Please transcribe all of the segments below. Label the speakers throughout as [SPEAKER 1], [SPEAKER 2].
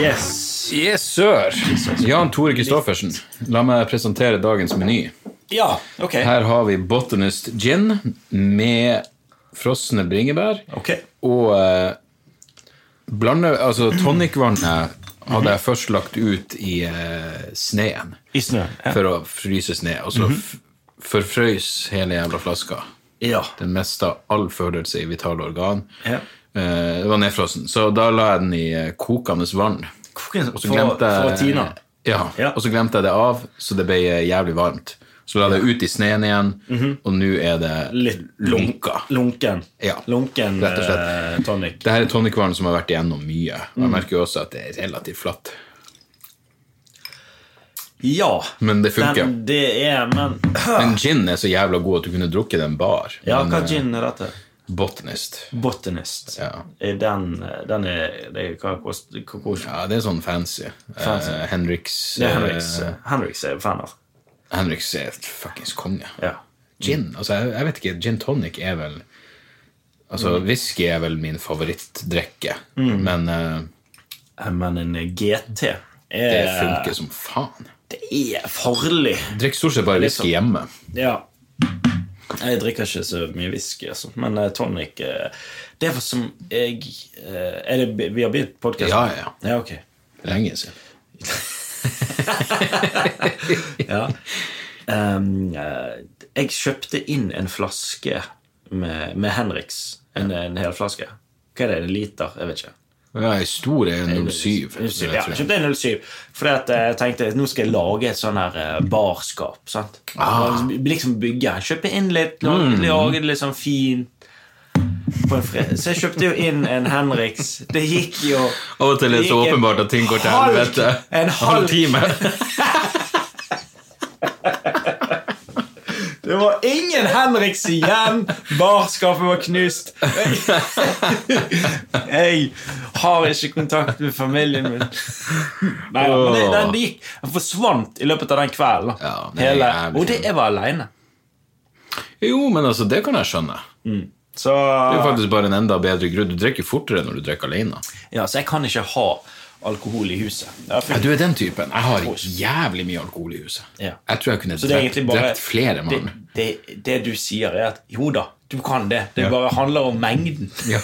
[SPEAKER 1] Yes.
[SPEAKER 2] Yes, sir! Jan Tore Kristoffersen, la meg presentere dagens meny.
[SPEAKER 1] Ja, ok.
[SPEAKER 2] Her har vi Botanist gin med frosne bringebær.
[SPEAKER 1] Ok.
[SPEAKER 2] Og eh, blande, altså tonicvannet hadde jeg først lagt ut i eh, sneen
[SPEAKER 1] I snøen. Ja.
[SPEAKER 2] for å fryse sne. Og så f- forfrøys hele jævla flaska.
[SPEAKER 1] ja.
[SPEAKER 2] Den mista all følelse i vitale organ.
[SPEAKER 1] Ja.
[SPEAKER 2] Eh, det var nedfrossen. Så da la jeg den i eh, kokende vann. Og så glemte jeg
[SPEAKER 1] For Tina.
[SPEAKER 2] Ja,
[SPEAKER 1] Ja.
[SPEAKER 2] og så glemte jeg det av, så det ble jævlig varmt. Så la jeg det ut i sneen igjen, og nå er det
[SPEAKER 1] Mhm. Litt
[SPEAKER 2] lunka.
[SPEAKER 1] Lunken.
[SPEAKER 2] Ja.
[SPEAKER 1] Lunken
[SPEAKER 2] Rett og slett.
[SPEAKER 1] eh, tonic.
[SPEAKER 2] Det her er tonicvann som har vært igjennom mye. Og
[SPEAKER 1] Mhm.
[SPEAKER 2] jeg merker jo også at det er relativt flatt.
[SPEAKER 1] Ja.
[SPEAKER 2] Men det funker.
[SPEAKER 1] Den, det er, men
[SPEAKER 2] Men gin er så jævla god at du kunne drukket den bar.
[SPEAKER 1] Ja,
[SPEAKER 2] Men,
[SPEAKER 1] hva
[SPEAKER 2] eh,
[SPEAKER 1] gin er dette?
[SPEAKER 2] Botanist.
[SPEAKER 1] Botanist.
[SPEAKER 2] Ja.
[SPEAKER 1] Er Den, eh, den er det, er- Hva koster hva koster-
[SPEAKER 2] Ja, det er sånn fancy.
[SPEAKER 1] Fancy.
[SPEAKER 2] Eh, Henriks
[SPEAKER 1] Det er Henriks,
[SPEAKER 2] eh,
[SPEAKER 1] eh, Henriks er jeg fan av.
[SPEAKER 2] Henriks er et fuckings konge.
[SPEAKER 1] Ja.
[SPEAKER 2] Gin altså jeg, jeg vet ikke, gin tonic er vel Altså,
[SPEAKER 1] Mm.
[SPEAKER 2] whisky er vel min favorittdrikke. Men eh,
[SPEAKER 1] Eh, Men en GT er,
[SPEAKER 2] det
[SPEAKER 1] det
[SPEAKER 2] funker som faen. sånn.
[SPEAKER 1] er farlig.
[SPEAKER 2] Eh, Drikker stort sett bare whisky hjemme.
[SPEAKER 1] Ja. Jeg drikker ikke så mye whisky, altså. men eh, tonic eh, Det er for som jeg eh, Er det vi har begynt podkast?
[SPEAKER 2] Ja, ja, ja.
[SPEAKER 1] ja. ok.
[SPEAKER 2] Lenge siden.
[SPEAKER 1] Ja. Ehm, eh, jeg kjøpte inn en flaske med, med Henriks. En, en hel flaske. Hva er det? En liter? Jeg vet ikke.
[SPEAKER 2] Ja, ei stor er 07.
[SPEAKER 1] Ja,
[SPEAKER 2] vil jeg
[SPEAKER 1] jeg
[SPEAKER 2] tro.
[SPEAKER 1] kjøpte en 07 Fordi at jeg tenkte nå skal jeg lage et sånn her eh, barskap. Sant? Og Liksom bygge. Kjøpe inn litt, lage, lage det litt sånn fint. På en fred. Så jeg kjøpte jo inn en Henriks. Det gikk jo
[SPEAKER 2] Av og til er det
[SPEAKER 1] Det
[SPEAKER 2] så
[SPEAKER 1] gikk en
[SPEAKER 2] åpenbart at ting går til
[SPEAKER 1] halv-
[SPEAKER 2] helvete.
[SPEAKER 1] en halv-
[SPEAKER 2] time.
[SPEAKER 1] Det var ingen Henriks igjen! Barskapet var knust. Jeg har ikke kontakt med familien min. Nei, men det, den gikk, den forsvant i løpet av den kvelden.
[SPEAKER 2] Ja, det er
[SPEAKER 1] Hele,
[SPEAKER 2] jævlig
[SPEAKER 1] og det, jeg var aleine.
[SPEAKER 2] Jo, men altså, det kan jeg skjønne.
[SPEAKER 1] Så,
[SPEAKER 2] Det er jo faktisk bare en enda bedre grunn. Du drikker fortere når du drikker alene.
[SPEAKER 1] ja, så jeg kan ikke ha alkohol i huset. Det har
[SPEAKER 2] Ja,
[SPEAKER 1] funnet-
[SPEAKER 2] du er den typen. Jeg har jævlig mye alkohol i huset.
[SPEAKER 1] Ja.
[SPEAKER 2] Jeg tror jeg kunne
[SPEAKER 1] Så det er
[SPEAKER 2] drept,
[SPEAKER 1] egentlig bare
[SPEAKER 2] drept flere mann.
[SPEAKER 1] Det, det, det du sier, er at jo da, du kan det. Det bare handler om mengden.
[SPEAKER 2] Ja.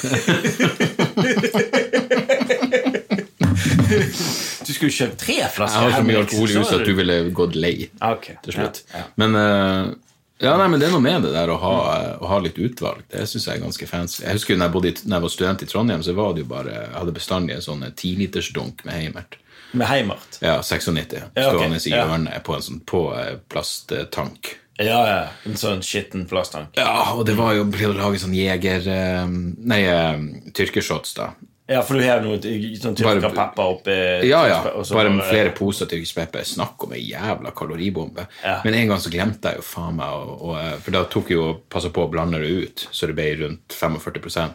[SPEAKER 1] Du skulle kjøpt tre flasker.
[SPEAKER 2] Jeg har så mye
[SPEAKER 1] Henriks,
[SPEAKER 2] alkohol i
[SPEAKER 1] så
[SPEAKER 2] huset at
[SPEAKER 1] du-
[SPEAKER 2] du ville gått lei
[SPEAKER 1] Ah, ok.
[SPEAKER 2] til slutt.
[SPEAKER 1] Ja, ja.
[SPEAKER 2] Men, eh, ja, nei, men det er noe med det der å ha, eh, å ha litt utvalg. Det syns jeg er ganske fancy. Jeg husker jo når jeg, bodde i, når jeg var student i Trondheim, så var det jo bare, jeg hadde bestandig en sånn tilitersdunk med Heimert.
[SPEAKER 1] Med Heimart.
[SPEAKER 2] Ja, 96.
[SPEAKER 1] Ja, ok.
[SPEAKER 2] Stående i
[SPEAKER 1] Ja.
[SPEAKER 2] hjørnet på en sånn på eh, plasttank.
[SPEAKER 1] Ja, ja. En sånn skitten plasttank.
[SPEAKER 2] Ja, og det var jo å lage sånn jeger... eh, Nei, eh, tyrkershots, da.
[SPEAKER 1] Ja, for du har noe sånn tyrka
[SPEAKER 2] Bare-
[SPEAKER 1] pepper oppi
[SPEAKER 2] Ja, ja.
[SPEAKER 1] og så
[SPEAKER 2] Bare med flere poser til Pepper. Snakk om ei jævla kaloribombe.
[SPEAKER 1] Ja.
[SPEAKER 2] Men en gang så glemte jeg jo faen meg å- å, eh, For da tok jeg jo og passa på å blande det ut, så det ble rundt 45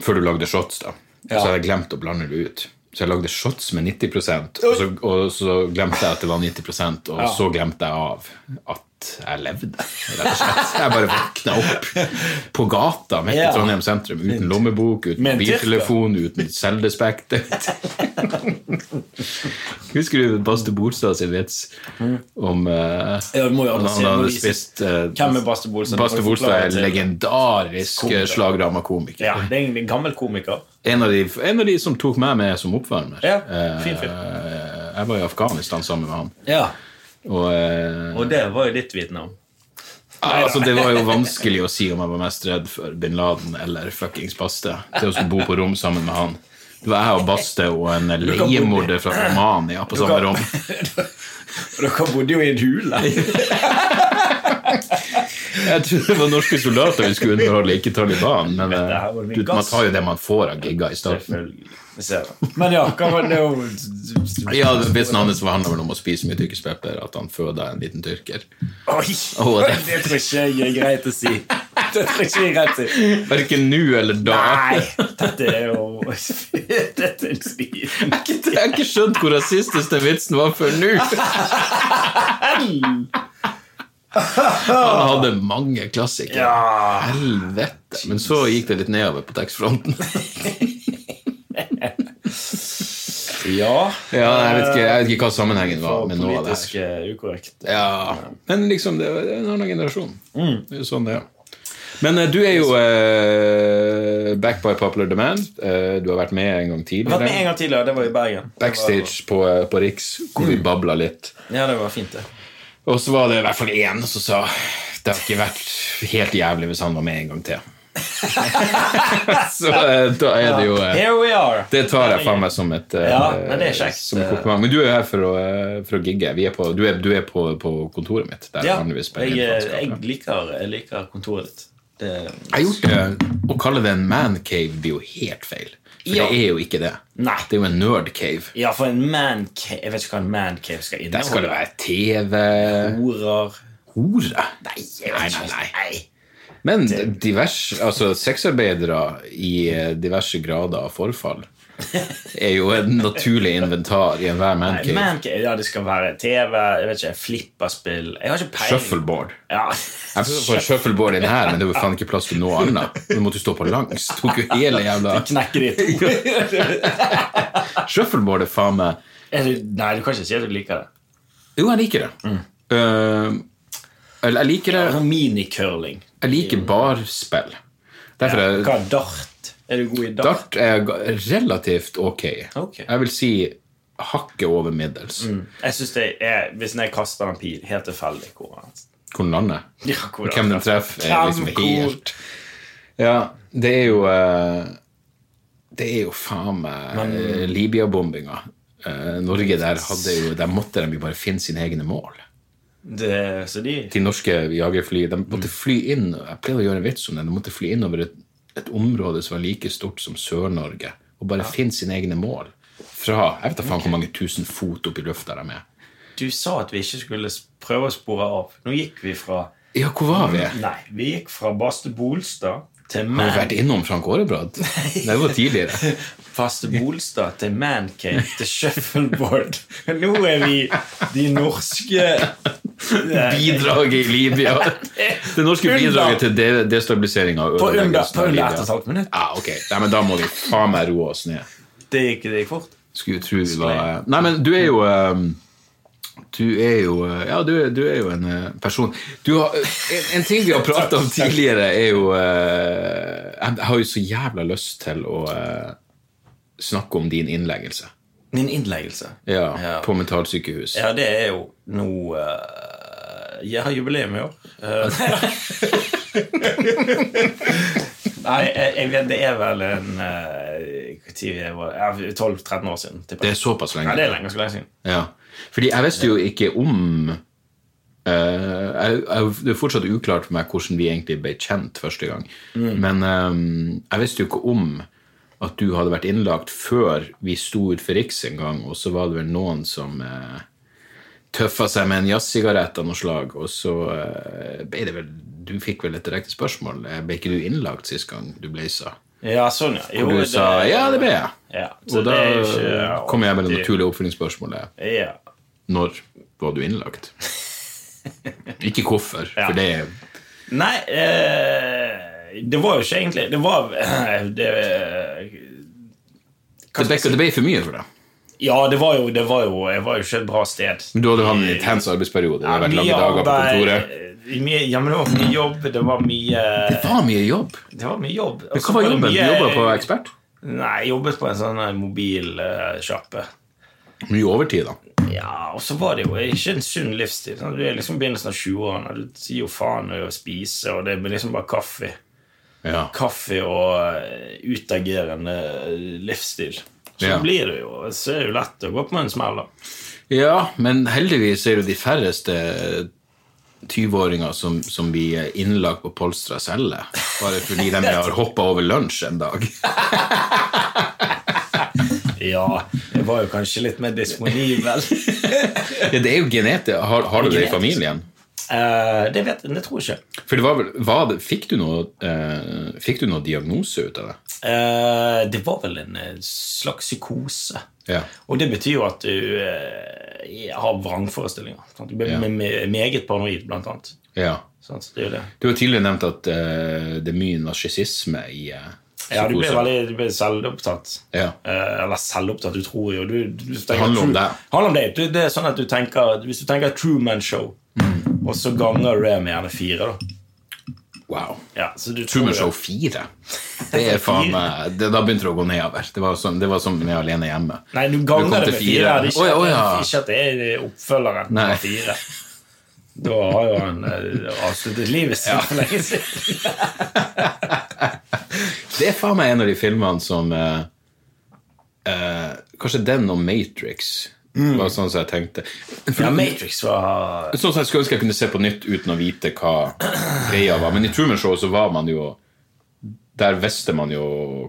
[SPEAKER 2] Før du lagde shots, da.
[SPEAKER 1] Mm. Ja.
[SPEAKER 2] Så hadde jeg glemt å blande det ut. Så jeg lagde shots med 90 og så, og så glemte jeg at det var 90 og så glemte jeg av at jeg levde, rett og slett. Jeg bare våkna opp på gata midt
[SPEAKER 1] Ja.
[SPEAKER 2] i Trondheim sentrum uten lommebok, uten
[SPEAKER 1] Med en tyrker.
[SPEAKER 2] biltelefon, uten selvrespektet. Husker du Baste Bolstad sin vits om eh,
[SPEAKER 1] Mm. Ja, vi må jo
[SPEAKER 2] han-
[SPEAKER 1] adressere-
[SPEAKER 2] han
[SPEAKER 1] må
[SPEAKER 2] hadde
[SPEAKER 1] vise-
[SPEAKER 2] spist eh,
[SPEAKER 1] Hvem er Baste Bolstad?
[SPEAKER 2] Baste
[SPEAKER 1] Det må vi forklare
[SPEAKER 2] Bolstad er en
[SPEAKER 1] til-
[SPEAKER 2] legendarisk
[SPEAKER 1] Komiker.
[SPEAKER 2] slagdramakomiker.
[SPEAKER 1] Ja, det er en gammel komiker.
[SPEAKER 2] En, av de- en av de som tok meg med som oppvarmer.
[SPEAKER 1] Ja,
[SPEAKER 2] Eh,
[SPEAKER 1] fin fyr.
[SPEAKER 2] jeg var i Afghanistan sammen med han.
[SPEAKER 1] Ja.
[SPEAKER 2] Og, eh,
[SPEAKER 1] Og det var jo ditt vitne om.
[SPEAKER 2] altså, det var jo vanskelig å si om jeg var mest redd for bin Laden eller fuckings Baste. Det å skulle bo på rom sammen med han. Det var jeg og Baste og en
[SPEAKER 1] bo-
[SPEAKER 2] leiemorder fra Romania på samme
[SPEAKER 1] kan-
[SPEAKER 2] rom.
[SPEAKER 1] Dere bodde jo i en hule.
[SPEAKER 2] Jeg trodde det var norske soldater vi skulle underholde, ikke Taliban. Men
[SPEAKER 1] Vet du, her var det
[SPEAKER 2] eh,
[SPEAKER 1] mye
[SPEAKER 2] du, man
[SPEAKER 1] gass.
[SPEAKER 2] tar jo det man får av gigga i starten.
[SPEAKER 1] Selvfølgelig. Vi ser det. Men ja, hva var det jo
[SPEAKER 2] Ja, Vitsen hans var- handler vel om å spise mye tyrkispepper, at han føda en liten tyrker.
[SPEAKER 1] Oi!
[SPEAKER 2] Å, det-
[SPEAKER 1] det tror ikke jeg er greit å si. Det tror ikke jeg er greit å si.
[SPEAKER 2] Verken nå eller da.
[SPEAKER 1] Nei! Dette er jo Dette er en svin.
[SPEAKER 2] Jeg har ikke skjønt hvor rasistisk den vitsen var før nå. Han hadde mange klassikere.
[SPEAKER 1] Ja.
[SPEAKER 2] Helvete. Men så gikk det litt nedover på tekstfronten.
[SPEAKER 1] Ja.
[SPEAKER 2] Ja, jeg, vet ikke, jeg vet ikke hva sammenhengen var
[SPEAKER 1] Og
[SPEAKER 2] med noe av det
[SPEAKER 1] politisk
[SPEAKER 2] her.
[SPEAKER 1] eh, ukorrekt.
[SPEAKER 2] Ja, Men liksom, det er en annen generasjon.
[SPEAKER 1] Mm.
[SPEAKER 2] Det er jo sånn det er. Men eh, du er jo eh, back by popular demand. Eh, du har vært med en gang
[SPEAKER 1] Jeg har vært med
[SPEAKER 2] tidligere.
[SPEAKER 1] en gang tidligere. Det var i Bergen. Det var-
[SPEAKER 2] Backstage på, eh, på Riks, hvor
[SPEAKER 1] Mm.
[SPEAKER 2] vi babla litt.
[SPEAKER 1] Ja, det var fint, det.
[SPEAKER 2] Og så var det i hvert fall én som sa det har ikke vært helt jævlig hvis han var med en gang til. så eh, da er det jo eh,
[SPEAKER 1] Here we are.
[SPEAKER 2] Det tar jeg faen meg som et eh,
[SPEAKER 1] Ja, men det er kjekt.
[SPEAKER 2] Som et kompliment. Men du er her for å, eh, for å gigge. Vi er på, du er, du er på, på kontoret mitt. Der
[SPEAKER 1] Ja,
[SPEAKER 2] vanligvis
[SPEAKER 1] jeg, eh,
[SPEAKER 2] spiller inn
[SPEAKER 1] jeg,
[SPEAKER 2] faenskapet.
[SPEAKER 1] liker, jeg liker kontoret ditt. Det,
[SPEAKER 2] Jeg har gjort det. Eh, Å kalle det en mancave blir jo helt feil. For
[SPEAKER 1] Ja.
[SPEAKER 2] det er jo ikke det.
[SPEAKER 1] Nei.
[SPEAKER 2] Det er jo en nerdcave.
[SPEAKER 1] ja, for en mancave Jeg vet ikke hva en mancave skal inneholde.
[SPEAKER 2] Der skal det være TV
[SPEAKER 1] Horer
[SPEAKER 2] Hore? Nei, nei, nei. nei. Men divers, altså sexarbeidere i eh, diverse grader av forfall er jo en naturlig inventar i enhver
[SPEAKER 1] Nei,
[SPEAKER 2] mancave.
[SPEAKER 1] mancave Ja, det skal være TV, jeg vet ikke, flipperspill Jeg har ikke peiling.
[SPEAKER 2] Shuffleboard.
[SPEAKER 1] Ja.
[SPEAKER 2] Jeg prøvde å få en shuffleboard inn her, men det var faen ikke plass til noe annet. Du måtte jo stå på langs. Tok jo hele jævla
[SPEAKER 1] Knekke ditt.
[SPEAKER 2] Shuffleboard er faen meg
[SPEAKER 1] Er det- Nei, du kan ikke si at du liker det.
[SPEAKER 2] Jo, jeg liker det. Eh, eller jeg liker det
[SPEAKER 1] Sånn Minicurling.
[SPEAKER 2] Jeg liker barspill. Derfor er
[SPEAKER 1] Hva er dart? Er du god i dart?
[SPEAKER 2] dart er ga- relativt ok.
[SPEAKER 1] Ok. Mm.
[SPEAKER 2] Jeg vil si hakket over middels.
[SPEAKER 1] Jeg synes det er, Hvis jeg kaster en pil helt tilfeldig hvor er den?
[SPEAKER 2] Hvor den lander.
[SPEAKER 1] Ja, hvor er
[SPEAKER 2] Hvem den
[SPEAKER 1] den?
[SPEAKER 2] treffer, er liksom
[SPEAKER 1] Hvem hvor?
[SPEAKER 2] helt Ja, det er jo eh, Det er jo faen meg eh, Libya-bombinga. Eh, Norge der hadde jo Der måtte de jo bare finne sine egne mål.
[SPEAKER 1] Det, så de
[SPEAKER 2] De norske jagerfly De
[SPEAKER 1] Mm.
[SPEAKER 2] måtte fly inn Jeg pleide å gjøre en vits om det. De måtte fly inn over et, et område som var like stort som Sør-Norge, og bare finne sine egne mål. Fra Jeg vet da faen hvor mange tusen fot opp i lufta de er.
[SPEAKER 1] Du sa at vi ikke skulle s- prøve å spore av. Nå gikk vi fra
[SPEAKER 2] Ja, hvor var vi?
[SPEAKER 1] Nei, vi gikk fra Baste Bolstad til
[SPEAKER 2] Har vi
[SPEAKER 1] Man...
[SPEAKER 2] vært innom Frank Aarebrad? Det var tidligere.
[SPEAKER 1] Baste Bolstad til Mancave til Shuffleboard. Nå er vi de norske
[SPEAKER 2] bidraget i Libya. Det norske
[SPEAKER 1] Under-
[SPEAKER 2] bidraget til de destabilisering av
[SPEAKER 1] På under,
[SPEAKER 2] ødeleggelsen
[SPEAKER 1] på
[SPEAKER 2] av
[SPEAKER 1] under ett og et
[SPEAKER 2] Libya.
[SPEAKER 1] halvt minutt.
[SPEAKER 2] Ja, ok. Nei, men da må vi faen meg roe oss ned.
[SPEAKER 1] Det gikk, det gikk fort.
[SPEAKER 2] Skulle tro vi var Nei, men du er jo ehm, Du er jo eh, Ja, du er, du er jo en eh, person du har, en, en ting vi har prata om tidligere, er jo eh, Jeg har jo så jævla lyst til å eh, snakke om din innleggelse.
[SPEAKER 1] Min innleggelse.
[SPEAKER 2] Ja,
[SPEAKER 1] Ja.
[SPEAKER 2] På mentalsykehus.
[SPEAKER 1] Ja, det er jo nå eh, Jeg har jubileum i år. Eh, Eh, Nei, jeg, jeg vet det er vel en eh, hvor tid jeg var- ja, 12-13 år siden. tipper
[SPEAKER 2] Det
[SPEAKER 1] jeg.
[SPEAKER 2] er såpass lenge.
[SPEAKER 1] Ja, det er lenge, ganske lenge siden.
[SPEAKER 2] Ja. Fordi jeg visste jo ikke om eh, jeg, jeg, Det er fortsatt uklart for meg hvordan vi egentlig ble kjent første gang.
[SPEAKER 1] Mm.
[SPEAKER 2] Men eh, jeg visste jo ikke om at du hadde vært innlagt før vi sto ut for Riks en gang, og så var det vel noen som eh, tøffa seg med en jazzsigarett av noe slag, og så eh, ble det vel Du fikk vel et direkte spørsmål. eh, Ble ikke du innlagt sist gang du blaza?
[SPEAKER 1] Ja, sånn, ja. Jo,
[SPEAKER 2] Og du
[SPEAKER 1] det-
[SPEAKER 2] sa 'ja, det ble jeg'.
[SPEAKER 1] Ja, så
[SPEAKER 2] Og da
[SPEAKER 1] det er jo ikke- ja,
[SPEAKER 2] kom jeg med det
[SPEAKER 1] det-
[SPEAKER 2] naturlige oppfølgingsspørsmålet.
[SPEAKER 1] Ja.
[SPEAKER 2] Når var du innlagt? Ikke hvorfor,
[SPEAKER 1] Ja.
[SPEAKER 2] for det er
[SPEAKER 1] Nei, eh, det var jo ikke egentlig Det eh, var det,
[SPEAKER 2] det ble, det ble for mye for deg.
[SPEAKER 1] Ja, det var jo, det var jo Jeg var jo ikke et bra sted.
[SPEAKER 2] Men Du hadde hatt en intens arbeidsperiode. Det hadde vært lange dager på kontoret.
[SPEAKER 1] eh, mye, ja, men det var mye jobb. Det var mye,
[SPEAKER 2] Det var mye jobb.
[SPEAKER 1] det var mye jobb. Og så
[SPEAKER 2] Hva var
[SPEAKER 1] det
[SPEAKER 2] jobben? Du
[SPEAKER 1] mye-
[SPEAKER 2] jobba på Ekspert?
[SPEAKER 1] Nei, jeg jobbet på en sånn eh, mobilsjappe.
[SPEAKER 2] Mye overtid, da.
[SPEAKER 1] Ja, og så var det jo ikke en sunn livsstil. Sånn, Du er liksom i begynnelsen av 20-årene, og du sier jo faen i å spise, og det blir liksom bare kaffe.
[SPEAKER 2] Ja.
[SPEAKER 1] Kaffe og eh, utagerende eh, livsstil. Så
[SPEAKER 2] Ja.
[SPEAKER 1] blir det jo Så er det jo lett å gå på en smell, da.
[SPEAKER 2] ja, men heldigvis er det de færreste 20-åringer som, som blir innlagt på Polstra celle bare fordi de har hoppa over lunsj en dag.
[SPEAKER 1] Ja, jeg var jo kanskje litt mer disponibel.
[SPEAKER 2] Ja, det er jo genetisk. Har, har du det i
[SPEAKER 1] Genetisk.
[SPEAKER 2] familien?
[SPEAKER 1] Eh, det vet jeg, det tror jeg ikke.
[SPEAKER 2] For det var vel, var det, fikk, du noe, eh, fikk du noe diagnose ut av det?
[SPEAKER 1] Eh, det var vel en eh, slags psykose.
[SPEAKER 2] Ja.
[SPEAKER 1] Og det betyr jo at du eh, har vrangforestillinger. Sant? Du blir
[SPEAKER 2] Ja.
[SPEAKER 1] me- me- meget paranoid, blant annet.
[SPEAKER 2] Ja.
[SPEAKER 1] Sant? Det er jo det.
[SPEAKER 2] Du har tidligere nevnt at eh, det er mye narsissisme i, eh,
[SPEAKER 1] Ja, du blir
[SPEAKER 2] psykose.
[SPEAKER 1] veldig du blir selvopptatt.
[SPEAKER 2] Ja.
[SPEAKER 1] Eh, eller selvopptatt, du tror jo du, du, du tenker
[SPEAKER 2] handler om
[SPEAKER 1] true-
[SPEAKER 2] deg.
[SPEAKER 1] handler om deg. Du, det er sånn at du tenker Hvis du tenker Truman Show,
[SPEAKER 2] Mm.
[SPEAKER 1] og så ganger du det med gjerne fire, da.
[SPEAKER 2] Wow.
[SPEAKER 1] Ja, så du tror
[SPEAKER 2] Truman
[SPEAKER 1] jo-
[SPEAKER 2] Show 4. Det er faen meg det, Da begynte det å gå nedover. Det var som, det var som jeg alene hjemme.
[SPEAKER 1] Nei, du
[SPEAKER 2] Du kom
[SPEAKER 1] ganger det
[SPEAKER 2] til
[SPEAKER 1] med
[SPEAKER 2] fire.
[SPEAKER 1] fire. Det er ikke,
[SPEAKER 2] Å ja, å ja.
[SPEAKER 1] ikke at det er oppfølgeren
[SPEAKER 2] Nei.
[SPEAKER 1] av fire. Da har jo han eh, avsluttet livet sitt for lenge siden.
[SPEAKER 2] Det er faen meg en av de filmene som eh, eh, Kanskje den og Matrix
[SPEAKER 1] Mm.
[SPEAKER 2] var sånn som jeg tenkte.
[SPEAKER 1] Ja, Matrix var
[SPEAKER 2] Sånn som jeg skulle ønske jeg kunne se på nytt uten å vite hva greia var. Men i Truman Show så var man jo Der visste man jo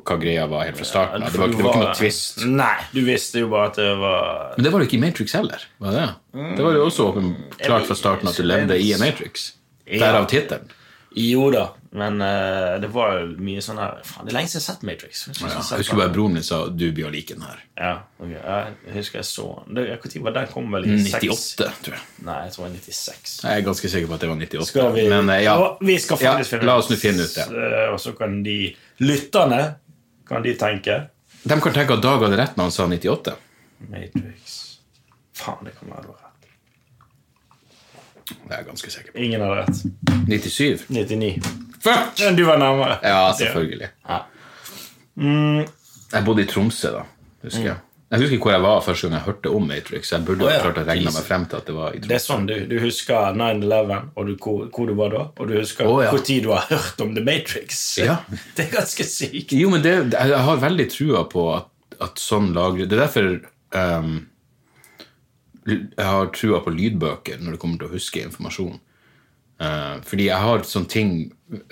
[SPEAKER 2] hva greia var helt fra starten av. Det var, ikke- det var ikke noe twist.
[SPEAKER 1] Nei, du visste jo bare at det var
[SPEAKER 2] Men det var det ikke i Matrix heller. Var det? det var jo også åpenbart fra starten at du levde i en Matrix. Derav tittelen.
[SPEAKER 1] Jo da, men eh, det var jo mye sånn her Faen, det er lenge siden jeg har sett Matrix. Jeg husker
[SPEAKER 2] Ja,
[SPEAKER 1] jeg
[SPEAKER 2] jeg
[SPEAKER 1] har sett
[SPEAKER 2] husker bare broren min sa 'du blir å like den her'.
[SPEAKER 1] den. Ja, ok, jeg husker jeg så den. Det- Når var den? Kom vel i
[SPEAKER 2] 98, tror jeg.
[SPEAKER 1] Seks? Nei, jeg tror det var 96.
[SPEAKER 2] Jeg er ganske sikker på at det var 98.
[SPEAKER 1] Skal vi,
[SPEAKER 2] Men eh, ja.
[SPEAKER 1] Å, vi skal faktisk
[SPEAKER 2] Ja,
[SPEAKER 1] finne
[SPEAKER 2] la oss nå finne ut det.
[SPEAKER 1] Eh, Og så kan de lytterne Kan de tenke
[SPEAKER 2] De kan tenke at Dag hadde rett når han sa 98.
[SPEAKER 1] Matrix. Faen, det kan være du har rett.
[SPEAKER 2] Det er jeg ganske sikker på.
[SPEAKER 1] Ingen hadde rett.
[SPEAKER 2] 97.
[SPEAKER 1] 99.
[SPEAKER 2] Fuck!
[SPEAKER 1] Men du var nærmere.
[SPEAKER 2] Ja, selvfølgelig. Mm.
[SPEAKER 1] Ja.
[SPEAKER 2] Jeg bodde i Tromsø, da. husker Jeg Jeg husker ikke hvor jeg var første gang jeg hørte om Matrix. Jeg burde
[SPEAKER 1] Å, ja.
[SPEAKER 2] ha klart å regne meg frem til at det var i
[SPEAKER 1] Det
[SPEAKER 2] Tromsø.
[SPEAKER 1] er sånn, du, du husker 9-11 og du, hvor, hvor du var da, og du husker
[SPEAKER 2] Å, ja.
[SPEAKER 1] hvor tid du har hørt om The Matrix.
[SPEAKER 2] Ja.
[SPEAKER 1] Det er ganske sykt.
[SPEAKER 2] Jo, men det, jeg har veldig trua på at, at sånn lagre Det er derfor ehm, jeg har trua på lydbøker når det kommer til å huske informasjon. Eh, fordi jeg har sånne ting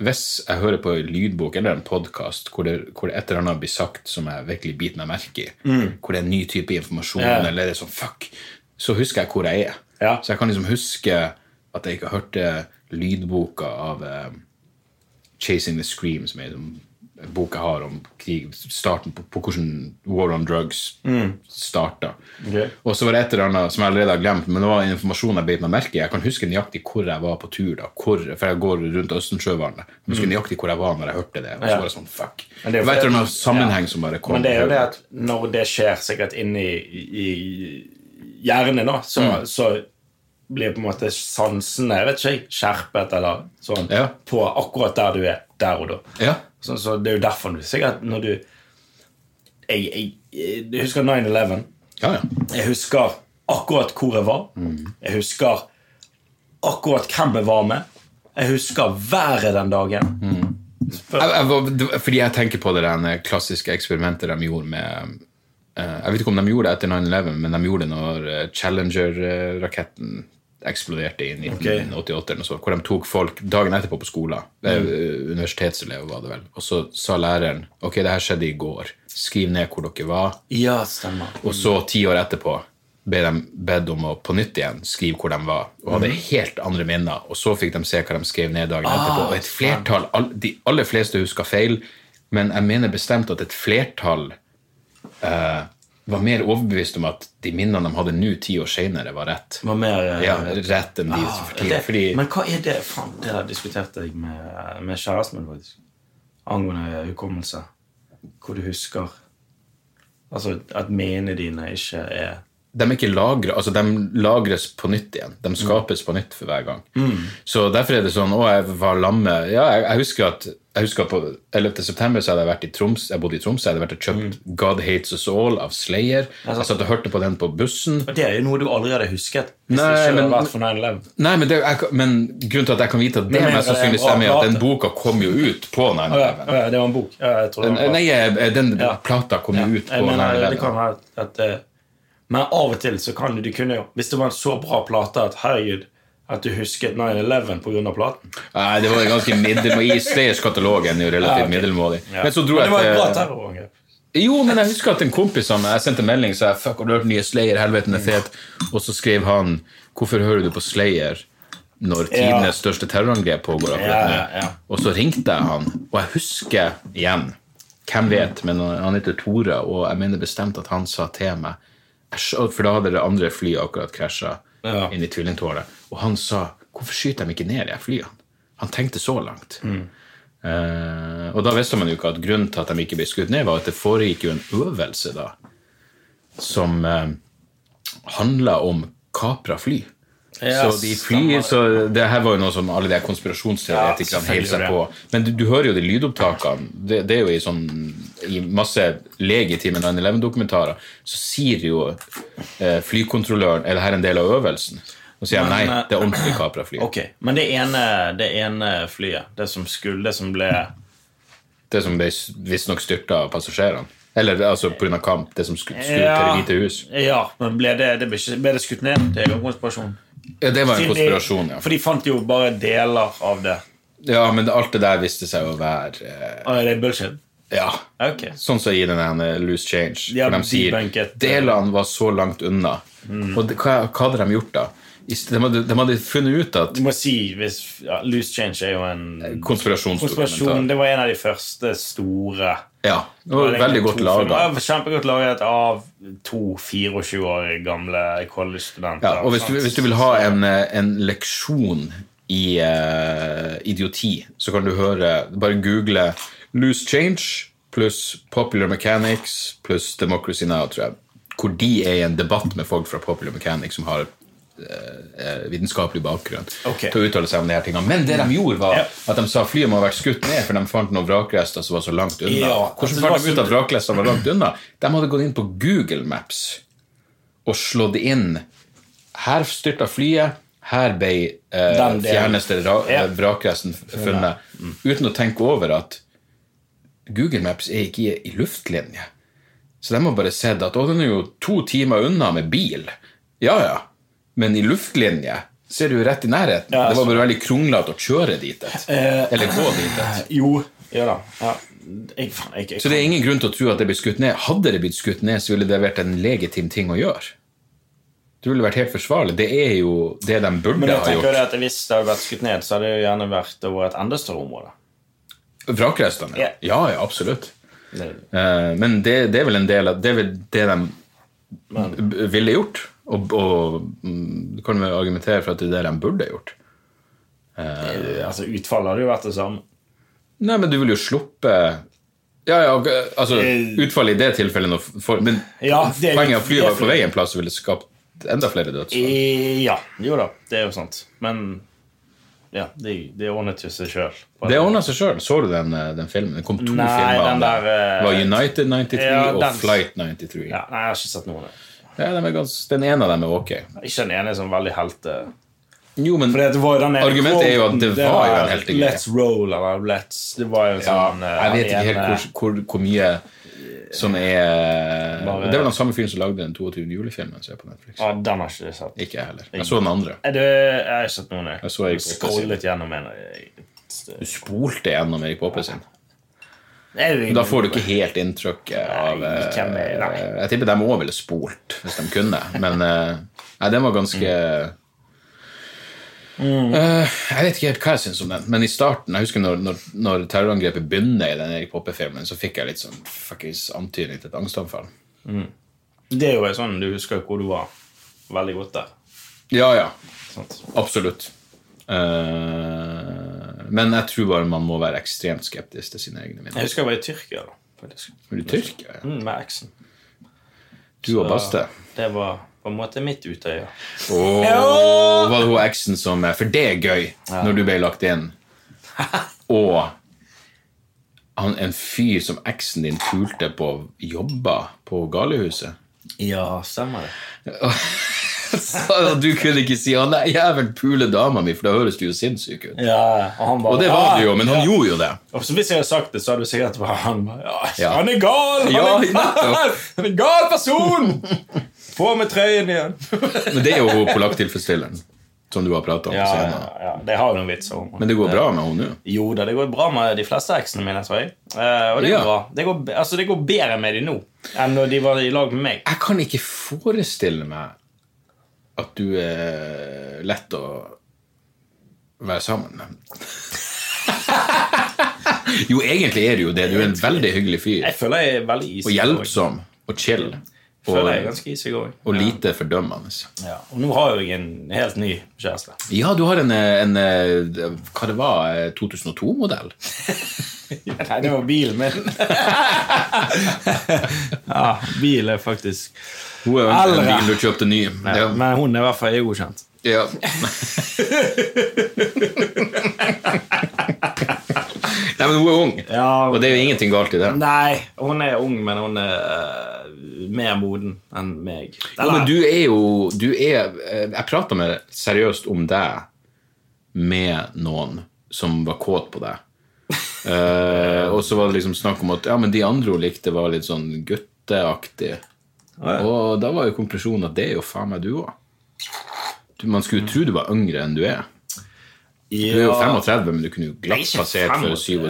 [SPEAKER 2] Hvis jeg hører på en lydbok eller en podkast hvor, det- hvor det et eller annet blir sagt som jeg virkelig biter meg merke i, hvor det er en ny type informasjon,
[SPEAKER 1] Mm. Ja.
[SPEAKER 2] eller det er sånn fuck, så husker jeg hvor jeg er.
[SPEAKER 1] Ja.
[SPEAKER 2] Så jeg kan liksom huske at jeg ikke hørte lydboka av eh, 'Chasing the Scream', som er en bok jeg har om krig, starten på, på hvordan War on Drugs
[SPEAKER 1] Mm.
[SPEAKER 2] starta.
[SPEAKER 1] Ok.
[SPEAKER 2] Og så var det et eller annet som jeg allerede har glemt, men det var informasjon jeg beit meg merke i. Jeg kan huske nøyaktig hvor jeg var på tur, da, hvor, for jeg går rundt Østensjøvannet. Jeg husker nøyaktig hvor jeg var når jeg hørte det. Og så
[SPEAKER 1] Mm. Ja.
[SPEAKER 2] var det sånn, fuck.
[SPEAKER 1] Men
[SPEAKER 2] Det
[SPEAKER 1] det er jo
[SPEAKER 2] var et eller
[SPEAKER 1] fordi-
[SPEAKER 2] annet sammenheng som bare kom.
[SPEAKER 1] Men det er jo
[SPEAKER 2] i
[SPEAKER 1] det
[SPEAKER 2] hodet.
[SPEAKER 1] at når det skjer sikkert inni i, i hjernen, da, så,
[SPEAKER 2] Mm.
[SPEAKER 1] så blir på en måte sansene jeg vet ikke, jeg, skjerpet eller sånn
[SPEAKER 2] Ja.
[SPEAKER 1] på akkurat der du er der og da.
[SPEAKER 2] Ja.
[SPEAKER 1] Så, så det er jo derfor du sikkert når du Jeg, jeg, jeg husker 9-11.
[SPEAKER 2] Ja, ja.
[SPEAKER 1] Jeg husker akkurat hvor jeg var.
[SPEAKER 2] Mm.
[SPEAKER 1] Jeg husker akkurat hvem jeg var med. Jeg husker været den dagen.
[SPEAKER 2] Mm. Jeg, jeg, var- det var- fordi jeg tenker på det der klassiske eksperimentet de gjorde med eh, Jeg vet ikke om de gjorde det etter 9-11, men de gjorde det når eh, Challenger-raketten eksploderte i 1988, eller noe sånt, hvor de tok folk dagen etterpå på skolen. Det er, eh, Universitetselever var det vel. Og så sa læreren ok, det her skjedde i går. Skriv ned hvor dere var.
[SPEAKER 1] Ja, stemmer.
[SPEAKER 2] Og så ti år etterpå ble de bedt om å på nytt igjen skrive hvor de var, og hadde
[SPEAKER 1] Mm.
[SPEAKER 2] helt andre minner. Og så fikk de se hva de skrev ned
[SPEAKER 1] Ah,
[SPEAKER 2] dagen etterpå. Og et flertall, all, De aller fleste huska feil, men jeg mener bestemt at et flertall eh, var mer overbevist om at de minnene de hadde nå, ti år seinere, var rett.
[SPEAKER 1] Var mer, eh,
[SPEAKER 2] Ja, rett enn de
[SPEAKER 1] Ah,
[SPEAKER 2] for tidlig.
[SPEAKER 1] det,
[SPEAKER 2] Fordi
[SPEAKER 1] Men hva er det Faen, det der diskuterte jeg med, med kjæresten min faktisk. Angående hukommelse. Hvor du husker Altså at minnene dine ikke er
[SPEAKER 2] de er ikke lagre, altså de lagres på nytt igjen.
[SPEAKER 1] Mm.
[SPEAKER 2] De skapes på nytt for hver gang. Så derfor er det sånn Å, jeg var lamme Ja, jeg, jeg husker at jeg husker at på 11. september så hadde jeg vært i Troms, jeg bodde i Tromsø. Jeg hadde vært og kjøpt
[SPEAKER 1] Mm.
[SPEAKER 2] God Hates Us All av Slayer. Jeg satt og hørte på den på bussen.
[SPEAKER 1] Og Det er jo noe du aldri hadde husket. Hvis
[SPEAKER 2] Nei,
[SPEAKER 1] det ikke hadde
[SPEAKER 2] men-
[SPEAKER 1] vært for 9-11.
[SPEAKER 2] Nei, men, det, jeg, men grunnen til at jeg kan vite at det
[SPEAKER 1] Men mener
[SPEAKER 2] mest sannsynlig
[SPEAKER 1] det er en bra
[SPEAKER 2] stemmer, er at
[SPEAKER 1] plate.
[SPEAKER 2] den boka kom jo ut på 9-11.
[SPEAKER 1] Å ja, å ja, det var en bok. Ja, jeg tror det var en bok.
[SPEAKER 2] Nei, eh, den
[SPEAKER 1] Ja.
[SPEAKER 2] plata kom jo ut på
[SPEAKER 1] Jeg mener, det
[SPEAKER 2] 9-11.
[SPEAKER 1] kan være at, at eh, Men av og til så kan du de kunne jo Hvis det var en så bra plate at herregud at du husket 9-11 pga. platen.
[SPEAKER 2] Nei, det var ganske middelmådig. I Slayers katalog er den jo relativt middelmådig.
[SPEAKER 1] Ja.
[SPEAKER 2] Men så dro
[SPEAKER 1] det
[SPEAKER 2] jeg
[SPEAKER 1] var et
[SPEAKER 2] til
[SPEAKER 1] bra terrorangrep.
[SPEAKER 2] Jo, men jeg husker at en kompis av meg Jeg sendte en melding og sa Fuck, har du hørt nye Slayer? Helveten er fet. Og så skrev han Hvorfor hører du på Slayer når
[SPEAKER 1] Ja.
[SPEAKER 2] tidenes største terrorangrep pågår akkurat
[SPEAKER 1] Ja,
[SPEAKER 2] nå?
[SPEAKER 1] ja.
[SPEAKER 2] Og så ringte jeg han, og jeg husker igjen Hvem vet, men han heter Tore, og jeg mener bestemt at han sa til meg jeg skjø- For da hadde det andre flyet akkurat krasja
[SPEAKER 1] Ja.
[SPEAKER 2] inn i tvillingtårnet. Og han sa Hvorfor skyter de ikke ned de her flyene? Han tenkte så langt. Eh, og da visste man jo ikke at grunnen til at de ikke ble skutt ned, var at det foregikk jo en øvelse da, som uh, handla om kapra fly.
[SPEAKER 1] Ja,
[SPEAKER 2] så de flyr, så det her var jo noe som alle de her konspirasjonsteoretikerne
[SPEAKER 1] Ja,
[SPEAKER 2] heiv seg
[SPEAKER 1] selvfølgelig.
[SPEAKER 2] på. Men du, du hører jo de lydopptakene. Det, det er jo i, sånn, i masse legitime 9-11-dokumentarer. Så sier jo eh, flykontrolløren Er det her en del av øvelsen? Og sier han nei,
[SPEAKER 1] Men, eh,
[SPEAKER 2] det er ordentlig kaprafly.
[SPEAKER 1] Ok, Men det ene, det ene flyet, det som skulle, det som ble
[SPEAKER 2] Det som ble s- visstnok styrta av passasjerene. Eller altså pga. kamp, det som skulle, skulle til
[SPEAKER 1] Ja.
[SPEAKER 2] Det hvite hus.
[SPEAKER 1] Ja, men ble det, det ble, ikke, ble det skutt ned? Det er jo en konspirasjon.
[SPEAKER 2] Ja, det var
[SPEAKER 1] Siden
[SPEAKER 2] en
[SPEAKER 1] de-
[SPEAKER 2] konspirasjon, ja.
[SPEAKER 1] For de fant jo bare deler av det.
[SPEAKER 2] Ja, Men alt det der viste seg å være eh,
[SPEAKER 1] Å, er det bullshit?
[SPEAKER 2] Ja.
[SPEAKER 1] Ok.
[SPEAKER 2] Sånn som i den her Loose Change.
[SPEAKER 1] Ja, eh,
[SPEAKER 2] hvor de sier
[SPEAKER 1] debunket.
[SPEAKER 2] delene var så langt unna.
[SPEAKER 1] Mm.
[SPEAKER 2] Og det, hva, hva hadde de gjort da? I st- De hadde, de hadde funnet ut at
[SPEAKER 1] Du må si hvis ja, Loose Change er jo en konspirasjon.
[SPEAKER 2] konspirasjonsdokumentar
[SPEAKER 1] Det var en av de første store
[SPEAKER 2] Ja, det var veldig godt
[SPEAKER 1] To
[SPEAKER 2] laga.
[SPEAKER 1] filmer. Ja, Kjempegodt laget av to 24-årige gamle college-studenter.
[SPEAKER 2] Ja, og hvis du,
[SPEAKER 1] sant?
[SPEAKER 2] hvis du vil ha en, eh, en leksjon i eh, idioti, så kan du høre Bare google Loose Change pluss Popular Mechanics pluss Democracy Now, tror jeg. Hvor de er i en debatt med folk fra Popular Mechanics som har eh, vitenskapelig bakgrunn
[SPEAKER 1] Ok.
[SPEAKER 2] til å uttale seg om de her tingene. Men det de gjorde, var
[SPEAKER 1] Ja.
[SPEAKER 2] at de sa flyet må ha vært skutt ned, for de fant noen vrakrester som var så langt unna.
[SPEAKER 1] Ja, altså,
[SPEAKER 2] Hvordan
[SPEAKER 1] det
[SPEAKER 2] fant
[SPEAKER 1] var
[SPEAKER 2] de ut
[SPEAKER 1] så-
[SPEAKER 2] at vrakrestene var langt unna? De hadde gått inn på Google Maps og slått inn her styrta flyet, her ble eh,
[SPEAKER 1] Den delen.
[SPEAKER 2] fjerneste ra eh,
[SPEAKER 1] Ja.
[SPEAKER 2] vrakresten funnet. Uten å tenke over at Google Maps er ikke i, i luftlinje. Så de har bare sett at å, den er jo to timer unna med bil. Ja, ja. Men i luftlinje ser du jo rett i nærheten.
[SPEAKER 1] Ja, Eh,
[SPEAKER 2] det var bare veldig kronglete å kjøre dit. et. Eller gå dit. et.
[SPEAKER 1] Jo. Ja da. Ja. Jeg, faen, jeg, jeg,
[SPEAKER 2] Så det er ingen grunn til å tro at det blir skutt ned. Hadde det blitt skutt ned, så ville det vært en legitim ting å gjøre. Det ville vært helt forsvarlig. Det er jo det de
[SPEAKER 1] men
[SPEAKER 2] burde
[SPEAKER 1] jeg
[SPEAKER 2] ha
[SPEAKER 1] tenker jo
[SPEAKER 2] gjort.
[SPEAKER 1] det at Hvis det hadde vært skutt ned, så hadde det jo gjerne vært over et enda større område.
[SPEAKER 2] Vrakrestene?
[SPEAKER 1] Ja.
[SPEAKER 2] Ja. ja, ja, absolutt.
[SPEAKER 1] Det-
[SPEAKER 2] Eh, Men det, det er vel en del av Det er vel det de b- ville gjort. Og, og mm, du kan vel argumentere for at det er det de burde gjort.
[SPEAKER 1] Altså, Utfallet hadde jo vært det samme.
[SPEAKER 2] Nei, men du vil jo sluppe Ja, ja, ok, altså
[SPEAKER 1] Eh,
[SPEAKER 2] Utfallet i det tilfellet nå for, Men
[SPEAKER 1] Ja, det er-
[SPEAKER 2] poenget er at
[SPEAKER 1] det
[SPEAKER 2] flyet
[SPEAKER 1] er
[SPEAKER 2] var på
[SPEAKER 1] fly-
[SPEAKER 2] vei en plass og ville skapt enda flere dødsfall.
[SPEAKER 1] Eh, Ja. Jo da, det er jo sant. Men ja, de, de ordnet jo seg sjøl.
[SPEAKER 2] Det ordna seg sjøl. Så du den, eh, den filmen? Det kom to
[SPEAKER 1] Nei,
[SPEAKER 2] filmer.
[SPEAKER 1] den
[SPEAKER 2] om det.
[SPEAKER 1] der, eh,
[SPEAKER 2] det var United 93
[SPEAKER 1] ja,
[SPEAKER 2] og
[SPEAKER 1] den-
[SPEAKER 2] Flight 93. Ja.
[SPEAKER 1] Ja, nei, jeg har ikke sett noen. av det.
[SPEAKER 2] den, er gans, den ene av dem er ok.
[SPEAKER 1] Ikke den ene som veldig eh, helte.
[SPEAKER 2] Jo, men
[SPEAKER 1] For det var den ene
[SPEAKER 2] Argumentet
[SPEAKER 1] quoten,
[SPEAKER 2] er jo at det var jo en heltegreie.
[SPEAKER 1] Let's roll, eller let's Det var jo en
[SPEAKER 2] ja,
[SPEAKER 1] sånn eh,
[SPEAKER 2] jeg vet ikke
[SPEAKER 1] ene-
[SPEAKER 2] helt hvor, hvor, hvor mye som er
[SPEAKER 1] Bare-
[SPEAKER 2] Det er vel den samme fyren som lagde den 22. julefilmen som er på Netflix.
[SPEAKER 1] Ja, den har ikke jeg sett.
[SPEAKER 2] Ikke jeg heller. Jeg så den andre.
[SPEAKER 1] Er det, jeg har ikke sett noen, jeg.
[SPEAKER 2] Jeg så Erik Poppe sin.
[SPEAKER 1] Scrollet gjennom en. eh, jeg-
[SPEAKER 2] Du spolte gjennom Erik Poppe sin.
[SPEAKER 1] Jeg vet
[SPEAKER 2] Da får du ikke helt inntrykket av eh,
[SPEAKER 1] hvem er- nei.
[SPEAKER 2] Jeg tipper de òg ville spolt hvis de kunne, men eh, nei, den var ganske Eh, jeg vet ikke helt hva jeg syns om den, men i starten Jeg husker når, når, når terrorangrepet begynner i den Erik Poppe-filmen, så fikk jeg litt sånn fuckings antydning til et angstanfall.
[SPEAKER 1] Det er jo sånn, Du husker jo hvor du var. Veldig godt der.
[SPEAKER 2] Ja, ja.
[SPEAKER 1] Sant?
[SPEAKER 2] Absolutt. Eh, men jeg tror bare man må være ekstremt skeptisk til sine egne
[SPEAKER 1] Jeg
[SPEAKER 2] minner.
[SPEAKER 1] husker jeg var i Tyrkia, da, faktisk.
[SPEAKER 2] Er du tyrker? ja?
[SPEAKER 1] Mm, med eksen.
[SPEAKER 2] Du og Baste?
[SPEAKER 1] Det var på en måte mitt utøye.
[SPEAKER 2] Åh, var det hun eksen som eh, For det er gøy, når du ble lagt inn. Og han, en fyr som eksen din pulte på, jobba på galehuset.
[SPEAKER 1] Ja, stemmer det.
[SPEAKER 2] Og du kunne ikke si 'Å nei, jævel, pule dama mi', for da høres du jo sinnssyk ut.
[SPEAKER 1] Ja, og han bare "Ah!"
[SPEAKER 2] Og det var du jo, men han
[SPEAKER 1] ja.
[SPEAKER 2] gjorde jo det.
[SPEAKER 1] Og så Hvis jeg hadde sagt det, så hadde du sikkert bare han bare, ja,
[SPEAKER 2] Ja.
[SPEAKER 1] Han er gal! Han,
[SPEAKER 2] Ja,
[SPEAKER 1] er gal!
[SPEAKER 2] nettopp.
[SPEAKER 1] han er en gal person! På med trøyen igjen!
[SPEAKER 2] Men det er jo hun polakktilfredsstilleren som du har prata om på
[SPEAKER 1] Ja, ja,
[SPEAKER 2] scenen.
[SPEAKER 1] ja, det har jo noen vitser om.
[SPEAKER 2] Men det går bra med henne nå.
[SPEAKER 1] Jo da, det går bra med de fleste eksene mine, tror jeg. Eh, og det går
[SPEAKER 2] Ja.
[SPEAKER 1] bra. Det går, altså, det går bedre med de nå enn når de var i lag med meg.
[SPEAKER 2] Jeg kan ikke forestille meg at du er lett å være sammen med. jo, egentlig er du jo det. Du er en veldig hyggelig fyr.
[SPEAKER 1] Jeg føler jeg er veldig is.
[SPEAKER 2] Og hjelpsom og chill.
[SPEAKER 1] Føler jeg er ganske i seg òg.
[SPEAKER 2] Og lite fordømmende.
[SPEAKER 1] Ja. Og nå har jeg en helt ny kjæreste.
[SPEAKER 2] Ja, du har en, eh, en eh, Hva det var? eh, 2002-modell?
[SPEAKER 1] Nei, det var bilen min. ja, bil er faktisk
[SPEAKER 2] Hun er jo en
[SPEAKER 1] Allra.
[SPEAKER 2] bil du kjøpte ny. Ja.
[SPEAKER 1] Men hun er i hvert fall godkjent.
[SPEAKER 2] Ja. Nei, men hun er ung,
[SPEAKER 1] Ja.
[SPEAKER 2] og det er jo ingenting galt i det.
[SPEAKER 1] Nei, hun er ung, men hun er eh, mer moden enn meg.
[SPEAKER 2] Ja, men du er jo du er, eh, Jeg prata med seriøst om deg med noen som var kåt på deg. Eh, og så var det liksom snakk om at ja, men de andre hun likte, var litt sånn gutteaktig.
[SPEAKER 1] Ja, ja.
[SPEAKER 2] Og da var jo konklusjonen at det er jo faen meg du òg. Man skulle jo tro du var yngre enn du er. Du er jo 35, men du kunne jo glatt passert for 27.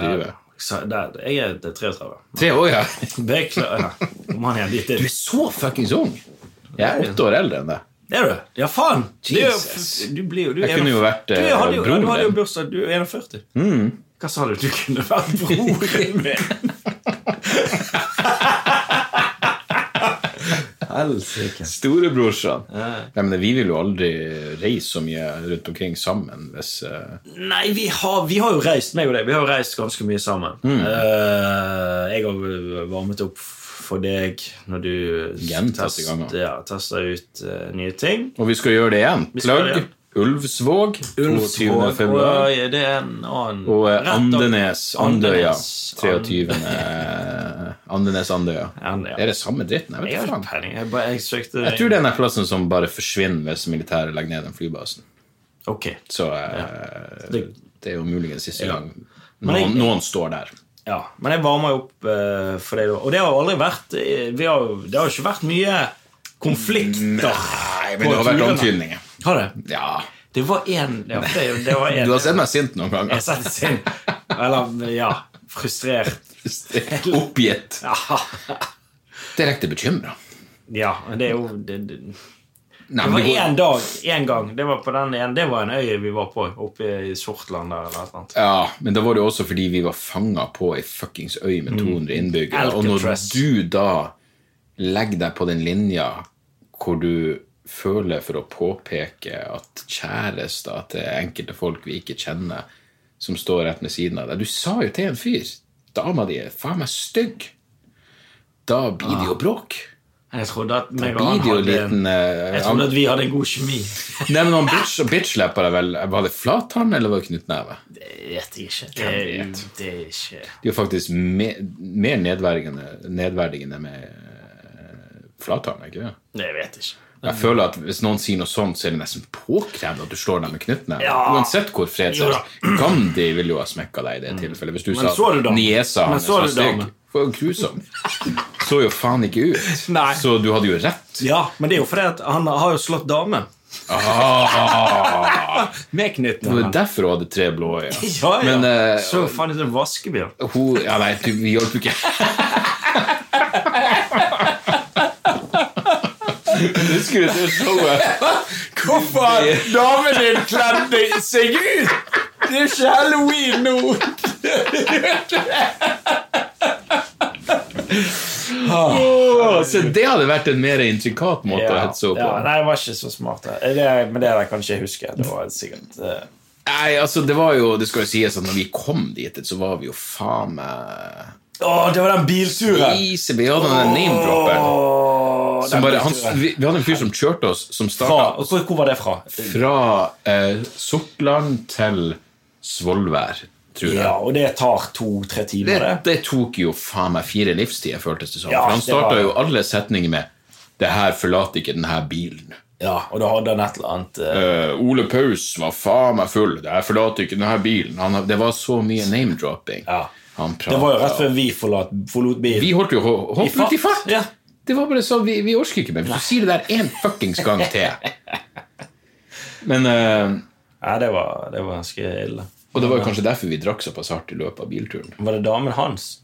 [SPEAKER 1] Der, jeg er til 33.
[SPEAKER 2] Tre år, ja.
[SPEAKER 1] Beklager. Kom an igjen, dit
[SPEAKER 2] Du
[SPEAKER 1] er
[SPEAKER 2] er så fuckings ung! Jeg er åtte år eldre enn deg.
[SPEAKER 1] Det er du. Ja, faen! Du er jo-
[SPEAKER 2] Jesus.
[SPEAKER 1] Du blir jo du
[SPEAKER 2] Jeg
[SPEAKER 1] er
[SPEAKER 2] kunne jo
[SPEAKER 1] en-
[SPEAKER 2] vært,
[SPEAKER 1] du,
[SPEAKER 2] eh,
[SPEAKER 1] hadde jo,
[SPEAKER 2] broren
[SPEAKER 1] Du hadde jo
[SPEAKER 2] din. Mm.
[SPEAKER 1] bursdag. Du er 41. Hva sa du? Du kunne vært broren min! Helsike.
[SPEAKER 2] Storebrorsan. Nei, men vi vil jo aldri reise så mye rundt omkring sammen hvis eh,
[SPEAKER 1] Nei, vi har, vi har jo reist, meg og deg, vi har jo reist ganske mye sammen.
[SPEAKER 2] Mm.
[SPEAKER 1] Eh, jeg har varmet opp for deg når du
[SPEAKER 2] Gjentatte
[SPEAKER 1] test-
[SPEAKER 2] ganger.
[SPEAKER 1] Ja, tester ut eh, nye ting.
[SPEAKER 2] Og vi skal gjøre det igjen.
[SPEAKER 1] skal gjøre
[SPEAKER 2] Plugg.
[SPEAKER 1] det igjen.
[SPEAKER 2] Ulvsvåg. 22. februar.
[SPEAKER 1] og, det er en annen
[SPEAKER 2] Og eh,
[SPEAKER 1] Rett opp-
[SPEAKER 2] Andenes. Andøya.
[SPEAKER 1] Andenes.
[SPEAKER 2] 23. Andenes Andøya.
[SPEAKER 1] Andøya.
[SPEAKER 2] Er det samme dritten? Jeg
[SPEAKER 1] Jeg
[SPEAKER 2] vet
[SPEAKER 1] har
[SPEAKER 2] ikke
[SPEAKER 1] ikke
[SPEAKER 2] faen.
[SPEAKER 1] peiling. Jeg, bare, jeg søkte
[SPEAKER 2] Jeg tror det er den der plassen som bare forsvinner hvis militæret legger ned den flybasen.
[SPEAKER 1] Ok.
[SPEAKER 2] Så eh,
[SPEAKER 1] Det-
[SPEAKER 2] det er jo muligens siste
[SPEAKER 1] Ja.
[SPEAKER 2] gang
[SPEAKER 1] Men jeg-
[SPEAKER 2] noen, noen står der.
[SPEAKER 1] Ja, Men jeg varmer jo opp eh, for deg, da. Og det har jo aldri vært eh, vi har, jo- Det har jo ikke vært mye konflikter.
[SPEAKER 2] Mm, Nei,
[SPEAKER 1] På
[SPEAKER 2] men det har vært
[SPEAKER 1] turene.
[SPEAKER 2] antydninger.
[SPEAKER 1] Har det?
[SPEAKER 2] Ja.
[SPEAKER 1] Det var én ja, det, det var en-
[SPEAKER 2] Du har sett meg sint noen ganger.
[SPEAKER 1] Jeg setter sin Eller, ja Frustrert.
[SPEAKER 2] Oppgitt.
[SPEAKER 1] Ja,
[SPEAKER 2] Direkte bekymra.
[SPEAKER 1] ja men det er jo det, det.
[SPEAKER 2] Nei,
[SPEAKER 1] det
[SPEAKER 2] men
[SPEAKER 1] var
[SPEAKER 2] det går-
[SPEAKER 1] én dag, én gang. Det var på den ene, det var en øy vi var på oppe i Sortland der. eller noe sånt.
[SPEAKER 2] Ja, men da var det jo også fordi vi var fanga på ei fuckings øy med 200 innbyggere. Og når
[SPEAKER 1] Mm. Alcatraz.
[SPEAKER 2] du da legger deg på den linja hvor du føler for å påpeke at kjærester til enkelte folk vi ikke kjenner, som står rett ved siden av deg Du sa jo til en fyr Dama di er faen meg stygg. Da blir det jo bråk.
[SPEAKER 1] Jeg trodde at meg og
[SPEAKER 2] Blir
[SPEAKER 1] han
[SPEAKER 2] det jo
[SPEAKER 1] hadde en,
[SPEAKER 2] liten eh,
[SPEAKER 1] Jeg trodde at vi hadde en god kjemi.
[SPEAKER 2] Nei, men han bitch, bitchlappa deg vel Var det flathand eller var det knyttneve?
[SPEAKER 1] Det vet jeg ikke. Det,
[SPEAKER 2] Hvem vet?
[SPEAKER 1] det er ikke
[SPEAKER 2] Det er jo faktisk me, mer nedverdigende, nedverdigende med eh, flathand, er ikke det?
[SPEAKER 1] Det vet jeg ikke.
[SPEAKER 2] Jeg føler at Hvis noen sier noe sånt, så er det nesten påkrevd at du slår dem med knyttneve.
[SPEAKER 1] Ja.
[SPEAKER 2] Uansett hvor
[SPEAKER 1] Jo da. Mm.
[SPEAKER 2] fredsløs. Gandhi ville jo ha smekka deg i det tilfellet. Hvis du
[SPEAKER 1] Men
[SPEAKER 2] sa
[SPEAKER 1] så du damen?
[SPEAKER 2] niesa
[SPEAKER 1] Men
[SPEAKER 2] hans
[SPEAKER 1] så
[SPEAKER 2] var
[SPEAKER 1] du
[SPEAKER 2] stygg.
[SPEAKER 1] damen?
[SPEAKER 2] For grusom. Så jo faen ikke ut.
[SPEAKER 1] Nei.
[SPEAKER 2] Så du hadde jo rett.
[SPEAKER 1] Ja, men det er jo fordi at han har jo slått dame.
[SPEAKER 2] Ah,
[SPEAKER 1] Med
[SPEAKER 2] det var
[SPEAKER 1] knyttneven.
[SPEAKER 2] derfor hun hadde tre blå øyne.
[SPEAKER 1] Ja, ja.
[SPEAKER 2] Men eh,
[SPEAKER 1] så faen ut en vaskebjørn.
[SPEAKER 2] Hun Ja, nei, du, vi hjalp jo ikke. Husker du det showet?
[SPEAKER 1] Hvorfor damen din kledde seg ut? Det er ikke halloween nå!
[SPEAKER 2] Åh, så det hadde vært en mer intrikat måte å hetse henne på.
[SPEAKER 1] Ja, nei, jeg var ikke så smart. da. Det, men det der kan ikke jeg huske. Det var sikkert eh,
[SPEAKER 2] Nei, altså, det var jo Det skal jo sies at når vi kom dit, så var vi jo faen meg
[SPEAKER 1] Å, det var den bilturen!
[SPEAKER 2] Easy, Vi hadde den name-dropperen.
[SPEAKER 1] Åh, den
[SPEAKER 2] Som bare, han,
[SPEAKER 1] bilturen.
[SPEAKER 2] vi, vi hadde en fyr som kjørte oss, som
[SPEAKER 1] Fra,
[SPEAKER 2] starta
[SPEAKER 1] og hvor, hvor var det fra?
[SPEAKER 2] fra eh, Sortland til Svolvær, tror jeg.
[SPEAKER 1] Ja, og det tar to-tre timer,
[SPEAKER 2] det,
[SPEAKER 1] det.
[SPEAKER 2] det tok jo faen meg fire livstider, føltes det som.
[SPEAKER 1] Ja,
[SPEAKER 2] For han
[SPEAKER 1] det var-
[SPEAKER 2] starta jo alle setninger med 'Det her forlater ikke denne bilen'.
[SPEAKER 1] Ja, og da hadde han et eller annet eh,
[SPEAKER 2] Eh, Ole Paus var faen meg full. 'Det her forlater ikke denne bilen'. Han, det var så mye name-dropping.
[SPEAKER 1] Ja.
[SPEAKER 2] Han
[SPEAKER 1] Det var jo rett
[SPEAKER 2] prata
[SPEAKER 1] før vi forlot, forlot bilen.
[SPEAKER 2] Vi holdt jo ho-
[SPEAKER 1] I
[SPEAKER 2] hoppet
[SPEAKER 1] fart.
[SPEAKER 2] ut i fart.
[SPEAKER 1] Ja.
[SPEAKER 2] Det var bare sånn, vi, vi orker ikke mer. Hvis du sier det der én fuckings gang til Men eh,
[SPEAKER 1] Ja, det var, det var ganske ille.
[SPEAKER 2] Og det var jo kanskje derfor vi drakk såpass hardt i løpet av bilturen.
[SPEAKER 1] Var det damen hans?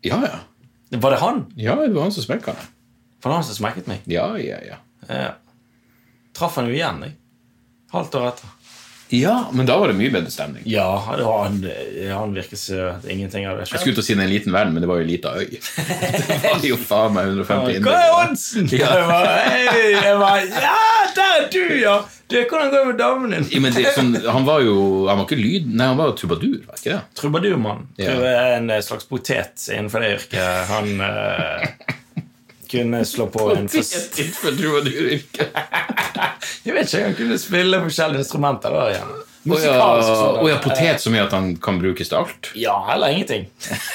[SPEAKER 2] Ja, ja.
[SPEAKER 1] Var det han?
[SPEAKER 2] Ja, det var han som smekka.
[SPEAKER 1] Var det han som smekket meg?
[SPEAKER 2] Ja, ja, ja.
[SPEAKER 1] Ja. Traff han jo igjen, jeg. Halvt år etter.
[SPEAKER 2] Ja, men da var det mye bedre stemning.
[SPEAKER 1] Ja, det var han, eh, han virker så Ingenting hadde
[SPEAKER 2] Jeg
[SPEAKER 1] skjedd.
[SPEAKER 2] skulle ut og si den er en liten verden, men det var jo ei lita øy. Det var jo faen meg 150
[SPEAKER 1] Hva er
[SPEAKER 2] innbyggere.
[SPEAKER 1] oddsen?!
[SPEAKER 2] Ja.
[SPEAKER 1] Jeg bare, «Hei!» jeg bare Ja, der er du, ja! Du, hvordan går det med damen din?
[SPEAKER 2] Ja, men det, er sånn, han var jo Han var ikke lyd... Nei, han var jo trubadur, var ikke det?
[SPEAKER 1] Trubadurmann.
[SPEAKER 2] Ja.
[SPEAKER 1] Tror jeg er en eh, slags potet innenfor det yrket. Han eh, kunne slå på en fors-
[SPEAKER 2] Innenfor trubaduryrket.
[SPEAKER 1] Jeg vet ikke, han kunne spille forskjellige instrumenter da igjen.
[SPEAKER 2] Å ja,
[SPEAKER 1] Musikalsk sånn.
[SPEAKER 2] å ja, potet så mye at han kan brukes til alt?
[SPEAKER 1] Ja, eller ingenting.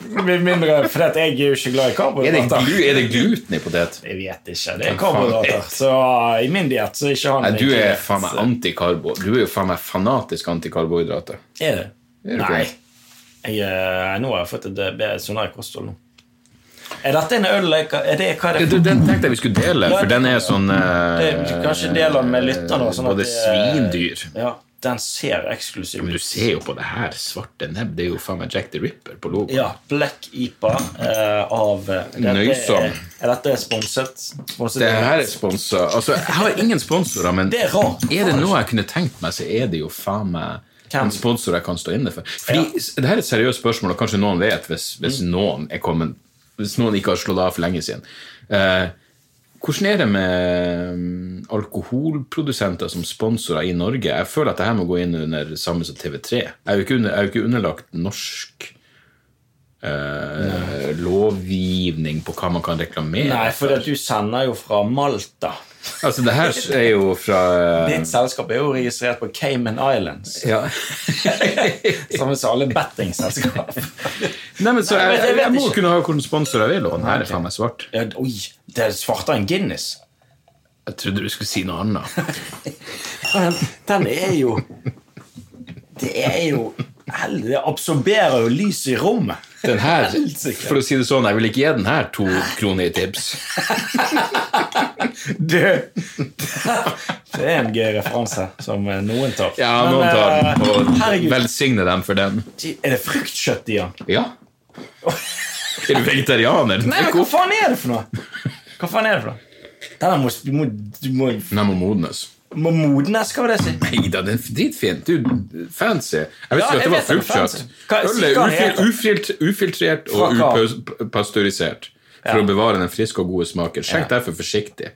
[SPEAKER 1] Det blir mindre, for at jeg er jo ikke glad i
[SPEAKER 2] Er det,
[SPEAKER 1] karbohydrater.
[SPEAKER 2] glu, er det gluten i potet?
[SPEAKER 1] Jeg vet ikke. Det er
[SPEAKER 2] faen
[SPEAKER 1] karbohydrater. Så eh, i min diett så er ikke han
[SPEAKER 2] Nei, du er
[SPEAKER 1] inkludert,
[SPEAKER 2] faen meg
[SPEAKER 1] så-
[SPEAKER 2] antikarbo. Du er jo faen meg fanatisk antikarbohydrater.
[SPEAKER 1] Er det?
[SPEAKER 2] Er du ikke
[SPEAKER 1] Nei.
[SPEAKER 2] det?
[SPEAKER 1] Jeg, eh, nå har jeg fått et eh, bedre sunnere kosthold nå. Er dette en øl? Er er det, hva er det
[SPEAKER 2] Du, den tenkte jeg vi skulle dele, for den er sånn eh,
[SPEAKER 1] Det- kanskje deler den med lytterne, sånn at
[SPEAKER 2] Både
[SPEAKER 1] det-
[SPEAKER 2] svindyr
[SPEAKER 1] Ja, den ser eksklusiv
[SPEAKER 2] Men
[SPEAKER 1] ut.
[SPEAKER 2] du ser jo på det her svarte nebb. Det er jo faen meg Jack the Ripper på logoen.
[SPEAKER 1] Ja, Black IPA eh, av eh, dette
[SPEAKER 2] Nøysom.
[SPEAKER 1] Er, er dette sponset? sponset
[SPEAKER 2] Det her er sponsa Altså, jeg har ingen sponsorer, men
[SPEAKER 1] Det er rart.
[SPEAKER 2] er det noe jeg kunne tenkt meg, så er det jo faen meg
[SPEAKER 1] Hvem?
[SPEAKER 2] en sponsor jeg kan stå inne for. Fordi
[SPEAKER 1] Ja. Mm.
[SPEAKER 2] s- Det her er et seriøst spørsmål, og kanskje noen vet hvis, hvis noen er kommet Hvis noen ikke har slått av for lenge siden. Eh, hvordan er det med mm, alkoholprodusenter som sponsorer i Norge? Jeg føler at det her må gå inn under samme som TV3. Jeg er jo ikke, under, jeg er jo ikke underlagt norsk eh, lovgivning på hva man kan reklamere
[SPEAKER 1] Nei, for at du sender jo fra Malta.
[SPEAKER 2] Altså, det her er jo fra
[SPEAKER 1] Ditt selskap er jo registrert på Cayman Islands.
[SPEAKER 2] ja.
[SPEAKER 1] Sammen med alle bettingselskap.
[SPEAKER 2] Nei, men så
[SPEAKER 1] Nei,
[SPEAKER 2] jeg,
[SPEAKER 1] jeg vet- jeg
[SPEAKER 2] jeg,
[SPEAKER 1] vet
[SPEAKER 2] må
[SPEAKER 1] ikke.
[SPEAKER 2] kunne ha hvilken sponsor jeg vil, og den her er faen meg svart.
[SPEAKER 1] Ja, Oi, det er svartere enn Guinness.
[SPEAKER 2] Jeg trodde du skulle si noe annet.
[SPEAKER 1] Men den er jo Det er jo hell- Det absorberer jo lyset i rommet.
[SPEAKER 2] Den her,
[SPEAKER 1] Helsike.
[SPEAKER 2] for å si det sånn, jeg vil ikke gi den her to kroner i tips.
[SPEAKER 1] Du! Det er en gøy referanse som eh, noen tar.
[SPEAKER 2] Ja,
[SPEAKER 1] Men,
[SPEAKER 2] noen tar
[SPEAKER 1] eh,
[SPEAKER 2] den, og
[SPEAKER 1] herregud.
[SPEAKER 2] velsigne dem for den.
[SPEAKER 1] Er det fruktkjøtt i den?
[SPEAKER 2] Ja. Er du vegetarianer?
[SPEAKER 1] Nei, men hva faen er det for noe? Hva faen er det for noe? Den her må, du må, du må,
[SPEAKER 2] Den her må modnes.
[SPEAKER 1] må modnes, hva vil det si?
[SPEAKER 2] Nei da, den er dritfin. Du, fancy. Jeg
[SPEAKER 1] Ja,
[SPEAKER 2] visste
[SPEAKER 1] jeg
[SPEAKER 2] ikke at det var
[SPEAKER 1] vet den er
[SPEAKER 2] fruktkjøtt.
[SPEAKER 1] fancy. Hva-
[SPEAKER 2] Øl
[SPEAKER 1] si
[SPEAKER 2] er
[SPEAKER 1] hva den
[SPEAKER 2] ufil-
[SPEAKER 1] heter.
[SPEAKER 2] ufilt- ufiltrert
[SPEAKER 1] Fra
[SPEAKER 2] og
[SPEAKER 1] hva?
[SPEAKER 2] upasteurisert for
[SPEAKER 1] Ja.
[SPEAKER 2] å bevare den friske og gode smaken. Skjenk derfor forsiktig.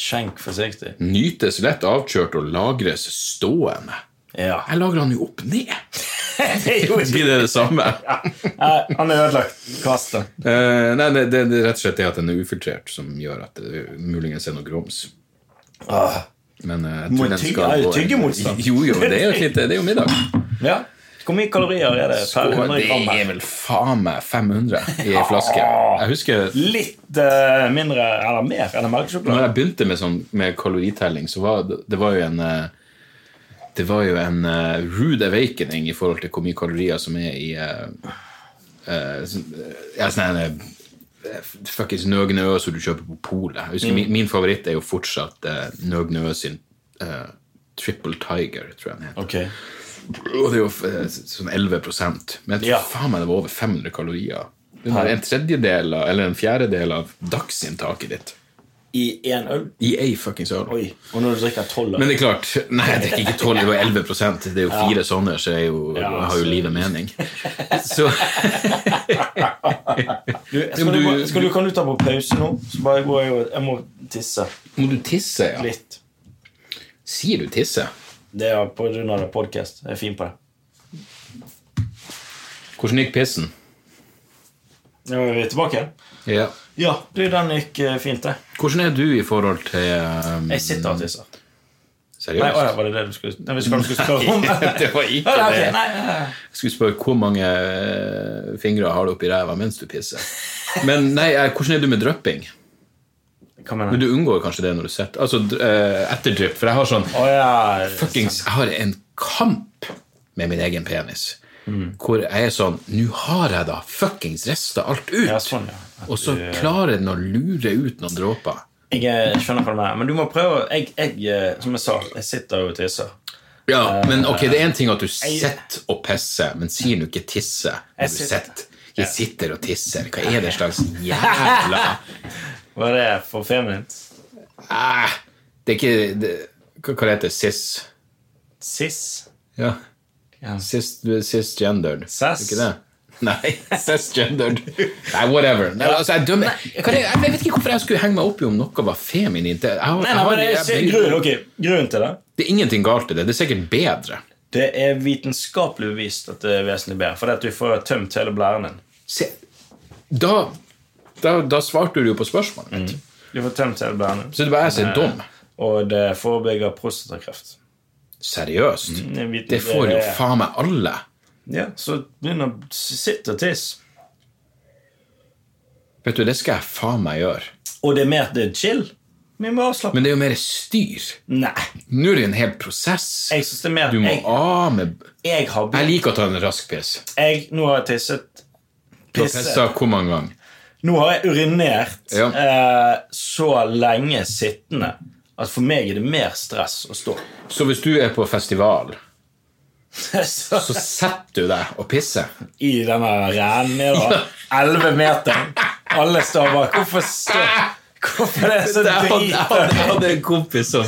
[SPEAKER 1] Skjenk forsiktig.
[SPEAKER 2] Nytes lett avkjørt og lagres stående.
[SPEAKER 1] Ja.
[SPEAKER 2] Jeg lager den jo opp ned.
[SPEAKER 1] det er jo ikke
[SPEAKER 2] Blir det det samme?
[SPEAKER 1] Nei, Han er ødelagt. Kast den.
[SPEAKER 2] Eh, nei, det, det, det er rett og slett det at den er ufiltrert som gjør at det muligens er noe grums.
[SPEAKER 1] Ah.
[SPEAKER 2] Men eh, jeg
[SPEAKER 1] Må
[SPEAKER 2] tror den
[SPEAKER 1] tygge-
[SPEAKER 2] skal
[SPEAKER 1] er det
[SPEAKER 2] gå en-
[SPEAKER 1] tyggemotstand?
[SPEAKER 2] Jo, jo, det er jo, et lite, det er jo middag.
[SPEAKER 1] Ja. Hvor mye kalorier er det per 100
[SPEAKER 2] det
[SPEAKER 1] gram?
[SPEAKER 2] er Ah.
[SPEAKER 1] her?
[SPEAKER 2] vel faen meg 500 i ei flaske. Jeg husker
[SPEAKER 1] Litt eh, mindre eller mer enn en melkesjokolade.
[SPEAKER 2] når jeg begynte med, sånn, med kaloritelling, så var det, det var jo en eh, Det var jo en eh, rude awakening i forhold til hvor mye kalorier som er i eh, eh, sånn, eh, ja, sånn her, eh, Fuckings nøgnø som du kjøper på polet. Jeg husker min, min favoritt er jo fortsatt uh, nøgnø sin eh, Triple Tiger, tror jeg den heter.
[SPEAKER 1] Ok.
[SPEAKER 2] Og det er jo eh, sånn 11 Men jeg tror
[SPEAKER 1] Ja.
[SPEAKER 2] faen meg det var over 500 kalorier. Det var en tredjedel av- eller en fjerdedel av dagsinntaket ditt
[SPEAKER 1] I én øl?
[SPEAKER 2] i ei fuckings øl.
[SPEAKER 1] Oi. Og når du drikker tolv
[SPEAKER 2] Men
[SPEAKER 1] øl
[SPEAKER 2] det er klart Nei, jeg drikker ikke 12, det var 11 Det er jo fire sånne, så jeg, er jo,
[SPEAKER 1] Ja,
[SPEAKER 2] jeg har jo
[SPEAKER 1] så-
[SPEAKER 2] livet mening. Så
[SPEAKER 1] du, skal, du,
[SPEAKER 2] du-
[SPEAKER 1] skal du, Kan du ta på pause nå? Så bare går jeg og Jeg må tisse
[SPEAKER 2] må du tisse, ja.
[SPEAKER 1] litt.
[SPEAKER 2] Sier du tisse?
[SPEAKER 1] Det er på grunn av podkast. Jeg er fin på det.
[SPEAKER 2] Hvordan gikk pissen?
[SPEAKER 1] Nå er vi tilbake igjen.
[SPEAKER 2] Ja.
[SPEAKER 1] Ja, du, den gikk eh, fint, det.
[SPEAKER 2] Hvordan er du i forhold til um,
[SPEAKER 1] Jeg sitter og tisser. Nei, å, ja,
[SPEAKER 2] Seriøst?
[SPEAKER 1] var det det du skulle Nei, vi skal du skulle spørre om?
[SPEAKER 2] det var ikke
[SPEAKER 1] Ja, ok,
[SPEAKER 2] det.
[SPEAKER 1] nei, nei, nei.
[SPEAKER 2] Jeg skulle spørre hvor mange eh, fingre har du oppi ræva mens du pisser. Men nei, eh, hvordan er du med drypping?
[SPEAKER 1] Hva mener
[SPEAKER 2] Men
[SPEAKER 1] du?
[SPEAKER 2] du unngår kanskje det når du sitter Altså dr- eh, etterdrypp, for jeg har sånn
[SPEAKER 1] Å ja.
[SPEAKER 2] fuckings Jeg har en kamp med min egen penis.
[SPEAKER 1] Mm.
[SPEAKER 2] Hvor jeg er sånn Nå har jeg da fuckings rista alt ut!
[SPEAKER 1] ja, sånn, ja.
[SPEAKER 2] og så klarer den å lure ut noen dråper.
[SPEAKER 1] Jeg eh, skjønner hva du mener. Men du må prøve å- jeg, jeg, eh, Som jeg sa, jeg sitter og tisser.
[SPEAKER 2] Ja, men ok, Det er én ting at du sitter og pisser, men sier du ikke 'tisse' når
[SPEAKER 1] Jeg
[SPEAKER 2] du
[SPEAKER 1] sitter.
[SPEAKER 2] sitter? Jeg sitter og tisser. Hva er det slags jævla
[SPEAKER 1] Var det for feminint?
[SPEAKER 2] Æh, Det Ah, er ikke det, Hva, hva heter det? Cis?
[SPEAKER 1] Sis.
[SPEAKER 2] Ja.
[SPEAKER 1] Ja.
[SPEAKER 2] Cis, cisgendered.
[SPEAKER 1] Sass.
[SPEAKER 2] Ikke det? Nei, cisgendered. Nei, whatever. Nei, altså, jeg, dømmer. Hva er det- jeg vet ikke hvorfor jeg skulle henge meg opp i om noe var feminint. Jeg, har-
[SPEAKER 1] Nei,
[SPEAKER 2] jeg
[SPEAKER 1] nei,
[SPEAKER 2] har-
[SPEAKER 1] men det,
[SPEAKER 2] jeg
[SPEAKER 1] se,
[SPEAKER 2] blir-
[SPEAKER 1] grunnen, ok, grunnen til det
[SPEAKER 2] det er ingenting galt i det. Det er sikkert bedre.
[SPEAKER 1] Det er vitenskapelig bevist at det er vesentlig bedre. Fordi at du får tømt hele blæren din.
[SPEAKER 2] Se, da, da, da svarte du jo på spørsmålet mitt.
[SPEAKER 1] Du får tømt hele blæren din.
[SPEAKER 2] Så det var jeg som er dum.
[SPEAKER 1] Og det forebygger prostatakreft.
[SPEAKER 2] Seriøst.
[SPEAKER 1] Jeg vet
[SPEAKER 2] Det
[SPEAKER 1] ikke,
[SPEAKER 2] får jo
[SPEAKER 1] det er-
[SPEAKER 2] faen meg alle.
[SPEAKER 1] Ja, så begynn å sitt og tiss.
[SPEAKER 2] Vet du, Det skal jeg faen meg gjøre.
[SPEAKER 1] Og det er mer at det er chill. Vi må avslappe.
[SPEAKER 2] Men det er jo mer styr.
[SPEAKER 1] Nei.
[SPEAKER 2] Nå er det en hel prosess.
[SPEAKER 1] Jeg synes det er mer at
[SPEAKER 2] Du må
[SPEAKER 1] jeg,
[SPEAKER 2] av med
[SPEAKER 1] jeg har
[SPEAKER 2] Jeg
[SPEAKER 1] blitt
[SPEAKER 2] liker å ta en rask piss.
[SPEAKER 1] jeg, Nå har jeg tisset. Pisset.
[SPEAKER 2] Pissa hvor mange ganger?
[SPEAKER 1] Nå har jeg urinert
[SPEAKER 2] Ja.
[SPEAKER 1] eh, så lenge sittende at for meg er det mer stress å stå.
[SPEAKER 2] Så hvis du er på festival,
[SPEAKER 1] så,
[SPEAKER 2] så setter du deg og pisser.
[SPEAKER 1] I denne rænen nedover. Elleve meter. Alle står bak. Hvorfor står Hvorfor er det så
[SPEAKER 2] Jeg hadde, jeg hadde, jeg
[SPEAKER 1] drit?
[SPEAKER 2] hadde en kompis som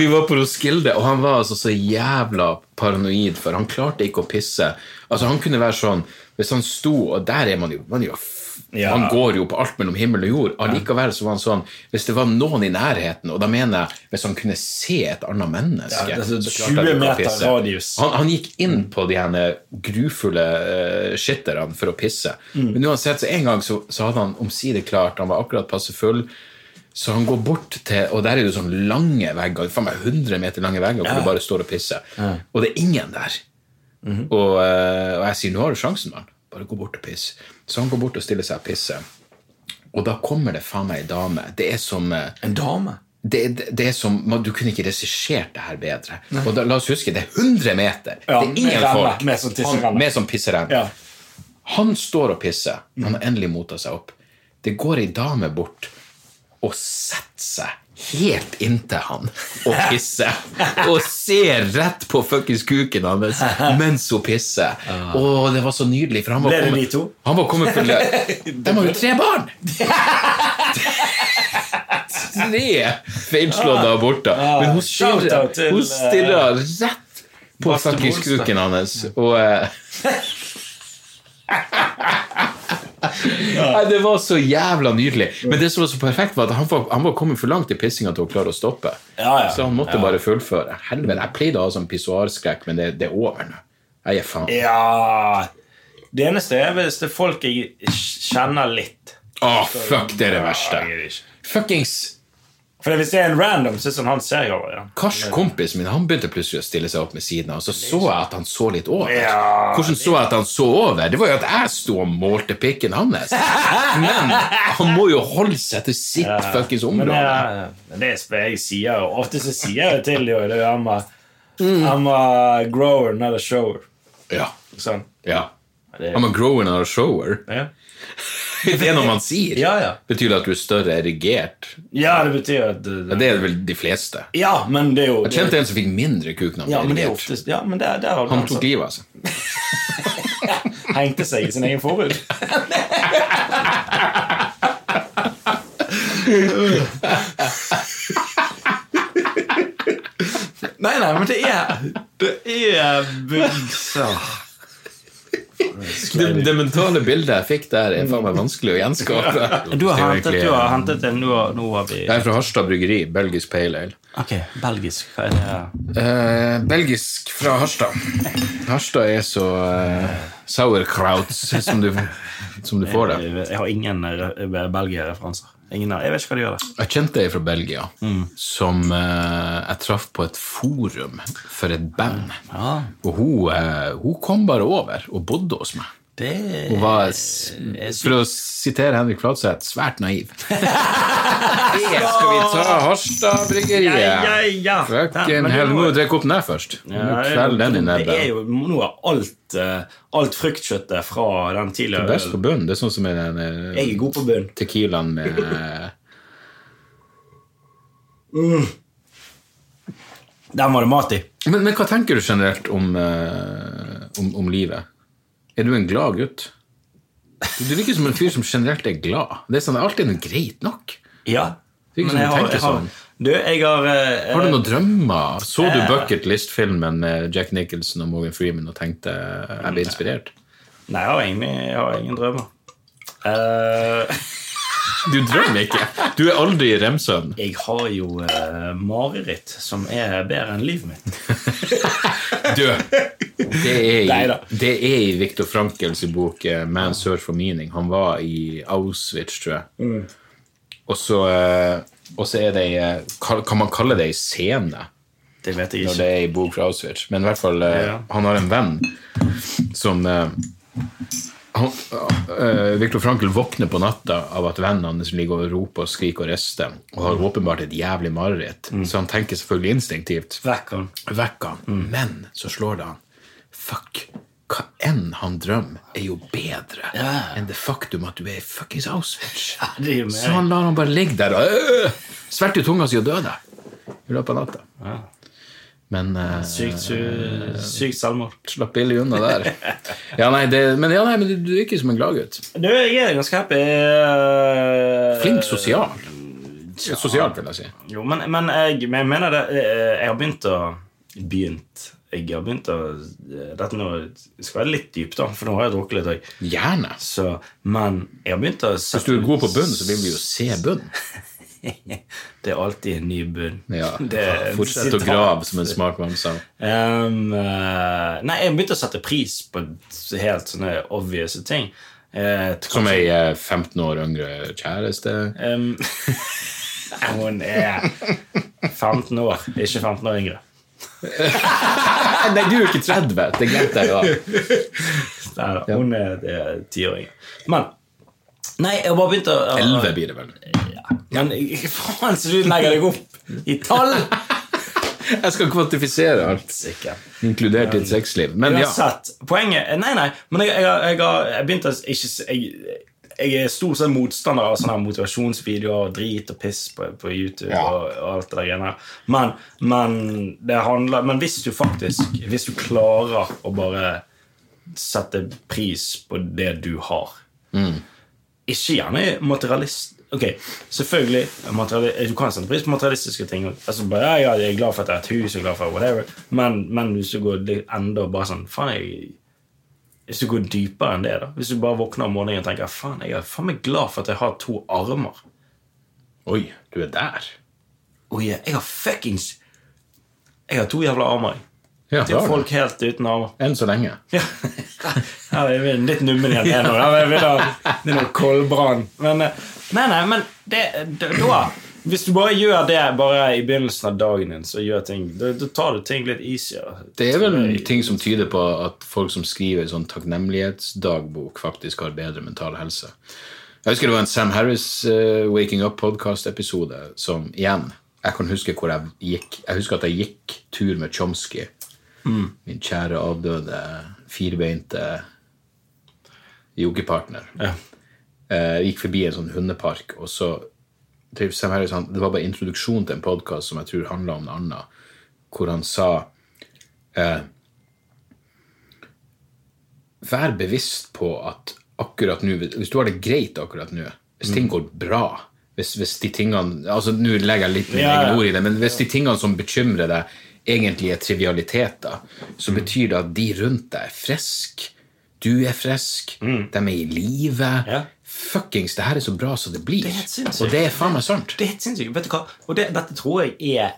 [SPEAKER 2] Vi var på Roskilde, og han var altså så jævla paranoid, for han klarte ikke å pisse. Altså Han kunne være sånn Hvis han sto Og der er man jo, man er jo f-
[SPEAKER 1] Ja.
[SPEAKER 2] Han går jo på alt mellom himmel og jord. Allikevel så var han sånn Hvis det var noen i nærheten, og da mener jeg hvis han kunne se et annet menneske
[SPEAKER 1] Ja, det er så
[SPEAKER 2] så
[SPEAKER 1] 20
[SPEAKER 2] klarte han ikke å
[SPEAKER 1] meter
[SPEAKER 2] pisse.
[SPEAKER 1] radius.
[SPEAKER 2] Han, han gikk inn på de henne grufulle uh, skitterne for å pisse.
[SPEAKER 1] Mm.
[SPEAKER 2] Men uansett, så en gang så, så hadde han omsider klart, han var akkurat passe full, så han går bort til Og der er det jo sånne lange vegger, faen meg 100 meter lange vegger, hvor du bare står og pisser. Og det er ingen der.
[SPEAKER 1] Mhm.
[SPEAKER 2] Og, eh, og jeg sier 'nå har du sjansen, mann'. Bare gå bort og piss. Så han går bort og stiller seg og pisser. Og da kommer det faen meg ei dame. Det er som eh,
[SPEAKER 1] En dame?
[SPEAKER 2] det, det, det er som, man- Du kunne ikke regissert det her bedre. Og da, La oss huske, det er 100 meter!
[SPEAKER 1] Ja,
[SPEAKER 2] det er ingen
[SPEAKER 1] med renne,
[SPEAKER 2] folk.
[SPEAKER 1] med sånn tisserenne.
[SPEAKER 2] Han- Med sånn pisserenne.
[SPEAKER 1] Ja. Mm.
[SPEAKER 2] Han står og pisser. Han har endelig mota seg opp. Det går ei dame bort og setter seg helt inntil han og pisser. Og ser rett på fuckings kuken hans mens hun pisser. Å, det var så nydelig. For han var
[SPEAKER 1] Ah. Ble det
[SPEAKER 2] kommet-
[SPEAKER 1] de to?
[SPEAKER 2] Han var kommet for De har jo tre barn! tre feilslåtte aborter. Men hun
[SPEAKER 1] Shout-out
[SPEAKER 2] stirrer
[SPEAKER 1] til,
[SPEAKER 2] hun stirrer rett på
[SPEAKER 1] Baste
[SPEAKER 2] fuckings
[SPEAKER 1] Bolstad.
[SPEAKER 2] kuken hans. Og eh, Nei, det var så jævla nydelig. Men det som var så perfekt, var at han var, han var kommet for langt i pissinga til å klare å stoppe.
[SPEAKER 1] Ja, ja.
[SPEAKER 2] Så han måtte bare fullføre. Helvete, Jeg pleide å ha sånn pissoarskrekk, men det, det er over nå. Jeg gir faen.
[SPEAKER 1] Ja Det eneste er hvis det er folk jeg kjenner litt.
[SPEAKER 2] Å, fuck, det er det verste. Fuckings
[SPEAKER 1] For hvis det er en random, så er det sånn han ser jeg over. Ja.
[SPEAKER 2] Kars, kompisen min, han begynte plutselig å stille seg opp med siden av, og så så jeg at han så litt over.
[SPEAKER 1] Ja.
[SPEAKER 2] Hvordan så jeg at han så over? Det var jo at jeg sto og målte pikken hans. Men han må jo holde seg til sitt fuckings
[SPEAKER 1] Men
[SPEAKER 2] område.
[SPEAKER 1] jeg, men det er sp- jeg sier, og ofte så sier jeg til dem det er jo I'm a, I'm a grower, not a shower.
[SPEAKER 2] Ja.
[SPEAKER 1] Sånn.
[SPEAKER 2] ja.
[SPEAKER 1] Det,
[SPEAKER 2] I'm a grower not a shower.
[SPEAKER 1] ja.
[SPEAKER 2] Det er noe man sier.
[SPEAKER 1] Ja, ja.
[SPEAKER 2] Betyr det at du er større erigert?
[SPEAKER 1] ja, det betyr at det,
[SPEAKER 2] Det er vel de fleste.
[SPEAKER 1] Ja, men det er jo
[SPEAKER 2] Jeg kjente en som fikk mindre kuk når
[SPEAKER 1] Ja,
[SPEAKER 2] han
[SPEAKER 1] men det
[SPEAKER 2] ble
[SPEAKER 1] er
[SPEAKER 2] erigert.
[SPEAKER 1] oftest Ja, men der, der har du
[SPEAKER 2] Han
[SPEAKER 1] den
[SPEAKER 2] tok
[SPEAKER 1] som
[SPEAKER 2] livet av seg.
[SPEAKER 1] hengte seg i sin egen forhud. nei, nei, men det er Det er
[SPEAKER 2] Ah, Det, det mentale bildet jeg fikk der, er faen meg vanskelig å gjenskape.
[SPEAKER 1] Du har
[SPEAKER 2] Det er
[SPEAKER 1] hentet,
[SPEAKER 2] virkelig-
[SPEAKER 1] du har hentet en nå, nå har vi
[SPEAKER 2] Jeg er fra Harstad bryggeri, belgisk pale ale.
[SPEAKER 1] Ok, belgisk. Hva er det?
[SPEAKER 2] Eh, belgisk fra Harstad. Harstad er så eh, sauerkrauts som du, som du får det.
[SPEAKER 1] Jeg har ingen re- Belgia-referanser. Ingen av- Jeg vet ikke hva de gjør der.
[SPEAKER 2] Jeg kjente ei fra Belgia som eh, jeg traff på et forum for et band.
[SPEAKER 1] Ja.
[SPEAKER 2] Og hun, eh, hun kom bare over og bodde hos meg.
[SPEAKER 1] Det
[SPEAKER 2] Hun var, s-
[SPEAKER 1] Eh,
[SPEAKER 2] for å sitere Henrik Fladseth, svært naiv. Det skal vi ta Harstad bryggeriet.
[SPEAKER 1] Ja, ja, ja. Ja,
[SPEAKER 2] Fucking
[SPEAKER 1] men
[SPEAKER 2] hell,
[SPEAKER 1] det
[SPEAKER 2] nå
[SPEAKER 1] var-
[SPEAKER 2] drikke opp den der først. Nå
[SPEAKER 1] Ja, det er
[SPEAKER 2] kveller den i
[SPEAKER 1] jo- det
[SPEAKER 2] nebbet.
[SPEAKER 1] er jo, nå er alt, eh, alt fruktkjøttet fra den tidligere
[SPEAKER 2] Best på bunnen. Det er sånn som i den eh,
[SPEAKER 1] Jeg er god på bunn.
[SPEAKER 2] tequilaen med eh,
[SPEAKER 1] Den var det mat i.
[SPEAKER 2] men, men hva tenker du generelt om, eh, om, om livet? Er du en glad gutt? Du, du virker som en fyr som generelt er glad. Det er sånn, Alt er noe greit nok.
[SPEAKER 1] Ja.
[SPEAKER 2] Det er ikke som du
[SPEAKER 1] jeg har,
[SPEAKER 2] tenker
[SPEAKER 1] jeg har,
[SPEAKER 2] sånn.
[SPEAKER 1] Du, jeg har eh,
[SPEAKER 2] Har du noen drømmer? Så du
[SPEAKER 1] Eh.
[SPEAKER 2] Bucket List-filmen med Jack Nicholson og Morgan Freeman og tenkte eh, jeg ble inspirert?
[SPEAKER 1] Nei, jeg har, egentlig, jeg har ingen drømmer. Eh,
[SPEAKER 2] Du drømmer ikke! Du er aldri i rem-søvn.
[SPEAKER 1] jeg har jo eh, mareritt som er bedre enn livet mitt.
[SPEAKER 2] Du! Det er i,
[SPEAKER 1] Neida.
[SPEAKER 2] det er i Viktor Frankels bok eh, 'Man's Search for Meaning'. Han var i Auschwitz, tror jeg.
[SPEAKER 1] Mm.
[SPEAKER 2] Og så, eh, og så er det ei eh, kall- Kan man kalle det ei scene?
[SPEAKER 1] Det vet jeg
[SPEAKER 2] når
[SPEAKER 1] ikke.
[SPEAKER 2] det er i bok fra Auschwitz. Men i hvert fall, eh,
[SPEAKER 1] Ja.
[SPEAKER 2] han har en venn som eh, han, eh, Viktor Frankl våkner på natta av at vennen hans ligger og roper og skriker og rister, og har åpenbart et jævlig mareritt.
[SPEAKER 1] Mm.
[SPEAKER 2] Så han tenker selvfølgelig instinktivt.
[SPEAKER 1] Vekk han.
[SPEAKER 2] Vekk han. Men så slår det han. Fuck. Hva enn han drømmer, er jo bedre
[SPEAKER 1] Ja.
[SPEAKER 2] enn det faktum at du er i fuckings Auschwitz.
[SPEAKER 1] det gir mening.
[SPEAKER 2] så han lar han bare ligge der og øh, sverte tunga si og døde i løpet av natta. Men eh,
[SPEAKER 1] Sykt, su- sykt selvmord.
[SPEAKER 2] slapp billig unna der. Ja, nei, det, men ja, nei, men du, du virker som en gladgutt.
[SPEAKER 1] Du, jeg er ganske happy. eh,
[SPEAKER 2] Flink sosial. Sosial, vil jeg si.
[SPEAKER 1] Jo, men, men jeg, men jeg mener det eh, Jeg har begynt å Begynt Jeg har begynt å eh, Dette nå skal være litt dypt, da, for nå har jeg drukket litt. Jeg.
[SPEAKER 2] Gjerne.
[SPEAKER 1] Så, men jeg har begynt å
[SPEAKER 2] Hvis du er god på bunn, så vil vi jo se bunn.
[SPEAKER 1] Det er alltid en ny bunn.
[SPEAKER 2] Ja,
[SPEAKER 1] Det er en
[SPEAKER 2] Fortsett å
[SPEAKER 1] sitat.
[SPEAKER 2] grave, som en smart mann sa.
[SPEAKER 1] Ehm, eh, nei, jeg begynte å sette pris på helt sånne obvious ting. Eh, t-
[SPEAKER 2] Som ei eh, 15 år yngre kjæreste.
[SPEAKER 1] ehm, hun er 15 år, ikke 15 år yngre.
[SPEAKER 2] Nei, nei, du er jo ikke 30! Det glemte jeg. da.
[SPEAKER 1] Nei, da, hun er det er 10 år yngre. Men Nei, jeg har bare begynt å
[SPEAKER 2] 11 blir det vel.
[SPEAKER 1] Ja. Men faen, så du legger deg opp i tall!
[SPEAKER 2] Jeg skal kvantifisere alt,
[SPEAKER 1] Sikkert.
[SPEAKER 2] inkludert ditt sexliv. Men ja.
[SPEAKER 1] Uansett, poenget Nei, nei, men jeg, jeg, har- jeg, har- jeg begynte å ikke s- jeg, jeg er stort sett motstander av sånne her motivasjonsvideoer og drit og piss på, på YouTube.
[SPEAKER 2] Ja.
[SPEAKER 1] Og, og alt det der greiene her. Men, men det handler Men hvis du faktisk Hvis du klarer å bare sette pris på det du har Ikke gjerne materialist Ok, selvfølgelig materiali- Du kan sette pris på materialistiske ting Altså bare, ja, ja, jeg er glad for at jeg har et hus Jeg er glad for whatever Men, men hvis du går litt enda og bare sånn Faen, jeg Hvis du går dypere enn det da Hvis du bare våkner om morgenen og tenker Faen, jeg er faen meg glad for at jeg har to armer
[SPEAKER 2] Oi, du er der.
[SPEAKER 1] Oi, jeg har fuckings Jeg har to jævla armer jeg.
[SPEAKER 2] Ja,
[SPEAKER 1] Det
[SPEAKER 2] da.
[SPEAKER 1] er folk helt uten armer
[SPEAKER 2] Enn så lenge.
[SPEAKER 1] Ja, ja jeg blir litt nummen igjen her nå. Ja, men jeg vil ha- Det er noe koldbrann. Men, eh, nei, nei, men det, da- da Hvis du bare gjør det bare i begynnelsen av dagen din, så gjør ting, da, da tar du ting litt easier.
[SPEAKER 2] Det er vel ting som tyder på at folk som skriver sånn takknemlighetsdagbok, faktisk har bedre mental helse. Jeg husker det var en Sam Harris eh, Waking Up podcast-episode som igjen Jeg kan huske hvor jeg gikk. Jeg husker at jeg gikk tur med Chomsky. Min kjære avdøde, firbeinte jokepartner.
[SPEAKER 1] Ja.
[SPEAKER 2] Eh, gikk forbi en sånn hundepark, og så drev Sam Harris han, Det var bare introduksjon til en podkast som jeg tror handla om noe annet, hvor han sa eh, Vær bevisst på at akkurat nå Hvis du har det greit akkurat nå, hvis ting går bra hvis, hvis de tingene, altså Nå legger jeg litt mine
[SPEAKER 1] Ja, ja.
[SPEAKER 2] egne ord i det, men hvis de tingene som bekymrer deg, egentlig er trivialiteter, så
[SPEAKER 1] Mm.
[SPEAKER 2] betyr det at de rundt deg er friske. Du er frisk, de er i live.
[SPEAKER 1] Mm. Ja.
[SPEAKER 2] Fuckings, det her er så bra som det blir.
[SPEAKER 1] Det er helt sinnssykt.
[SPEAKER 2] og det er faen meg sant.
[SPEAKER 1] Det er helt sinnssykt. Vet du hva? Og det, dette tror jeg er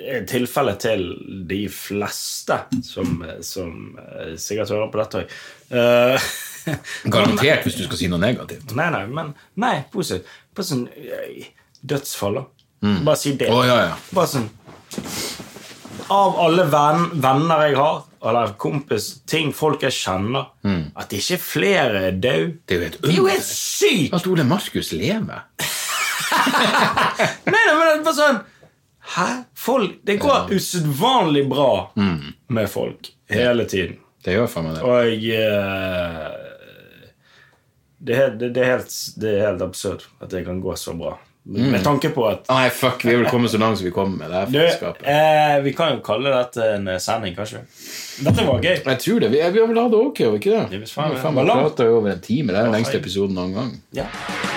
[SPEAKER 1] er tilfellet til de fleste som, som eh, sikkert hører på dette òg.
[SPEAKER 2] Garantert hvis du skal si noe negativt.
[SPEAKER 1] Nei, nei, men Nei, positivt. Bare sånn eh, Dødsfall, da. Bare si det.
[SPEAKER 2] Mm. Å, ja, ja.
[SPEAKER 1] Bare sånn Av alle venn, venner jeg har, eller kompis, ting folk jeg kjenner At ikke flere er døde,
[SPEAKER 2] Det er jo helt
[SPEAKER 1] det er jo
[SPEAKER 2] under
[SPEAKER 1] helt sykt!
[SPEAKER 2] at Ole Markus lever.
[SPEAKER 1] Nei, nei, men det er bare sånn Hæ? Folk, det går usedvanlig bra med folk hele tiden.
[SPEAKER 2] Det gjør faen meg det.
[SPEAKER 1] Og jeg eh, det, er- det, det, er helt, det er helt absurd at det kan gå så bra. Med tanke på at
[SPEAKER 2] Nei, fuck, vi er vel kommet så langt som vi kommer med det her
[SPEAKER 1] Du,
[SPEAKER 2] faenskapet.
[SPEAKER 1] eh, vi kan jo kalle dette en sending, kanskje. Dette var gøy.
[SPEAKER 2] Jeg tror det. Vi, vi har vel hatt det ok, har vi ikke det?
[SPEAKER 1] Det er visst faen meg-
[SPEAKER 2] Vi har faen meg
[SPEAKER 1] Hvor langt?
[SPEAKER 2] pratet i over en time. Det er den lengste episoden noen gang.
[SPEAKER 1] Ja.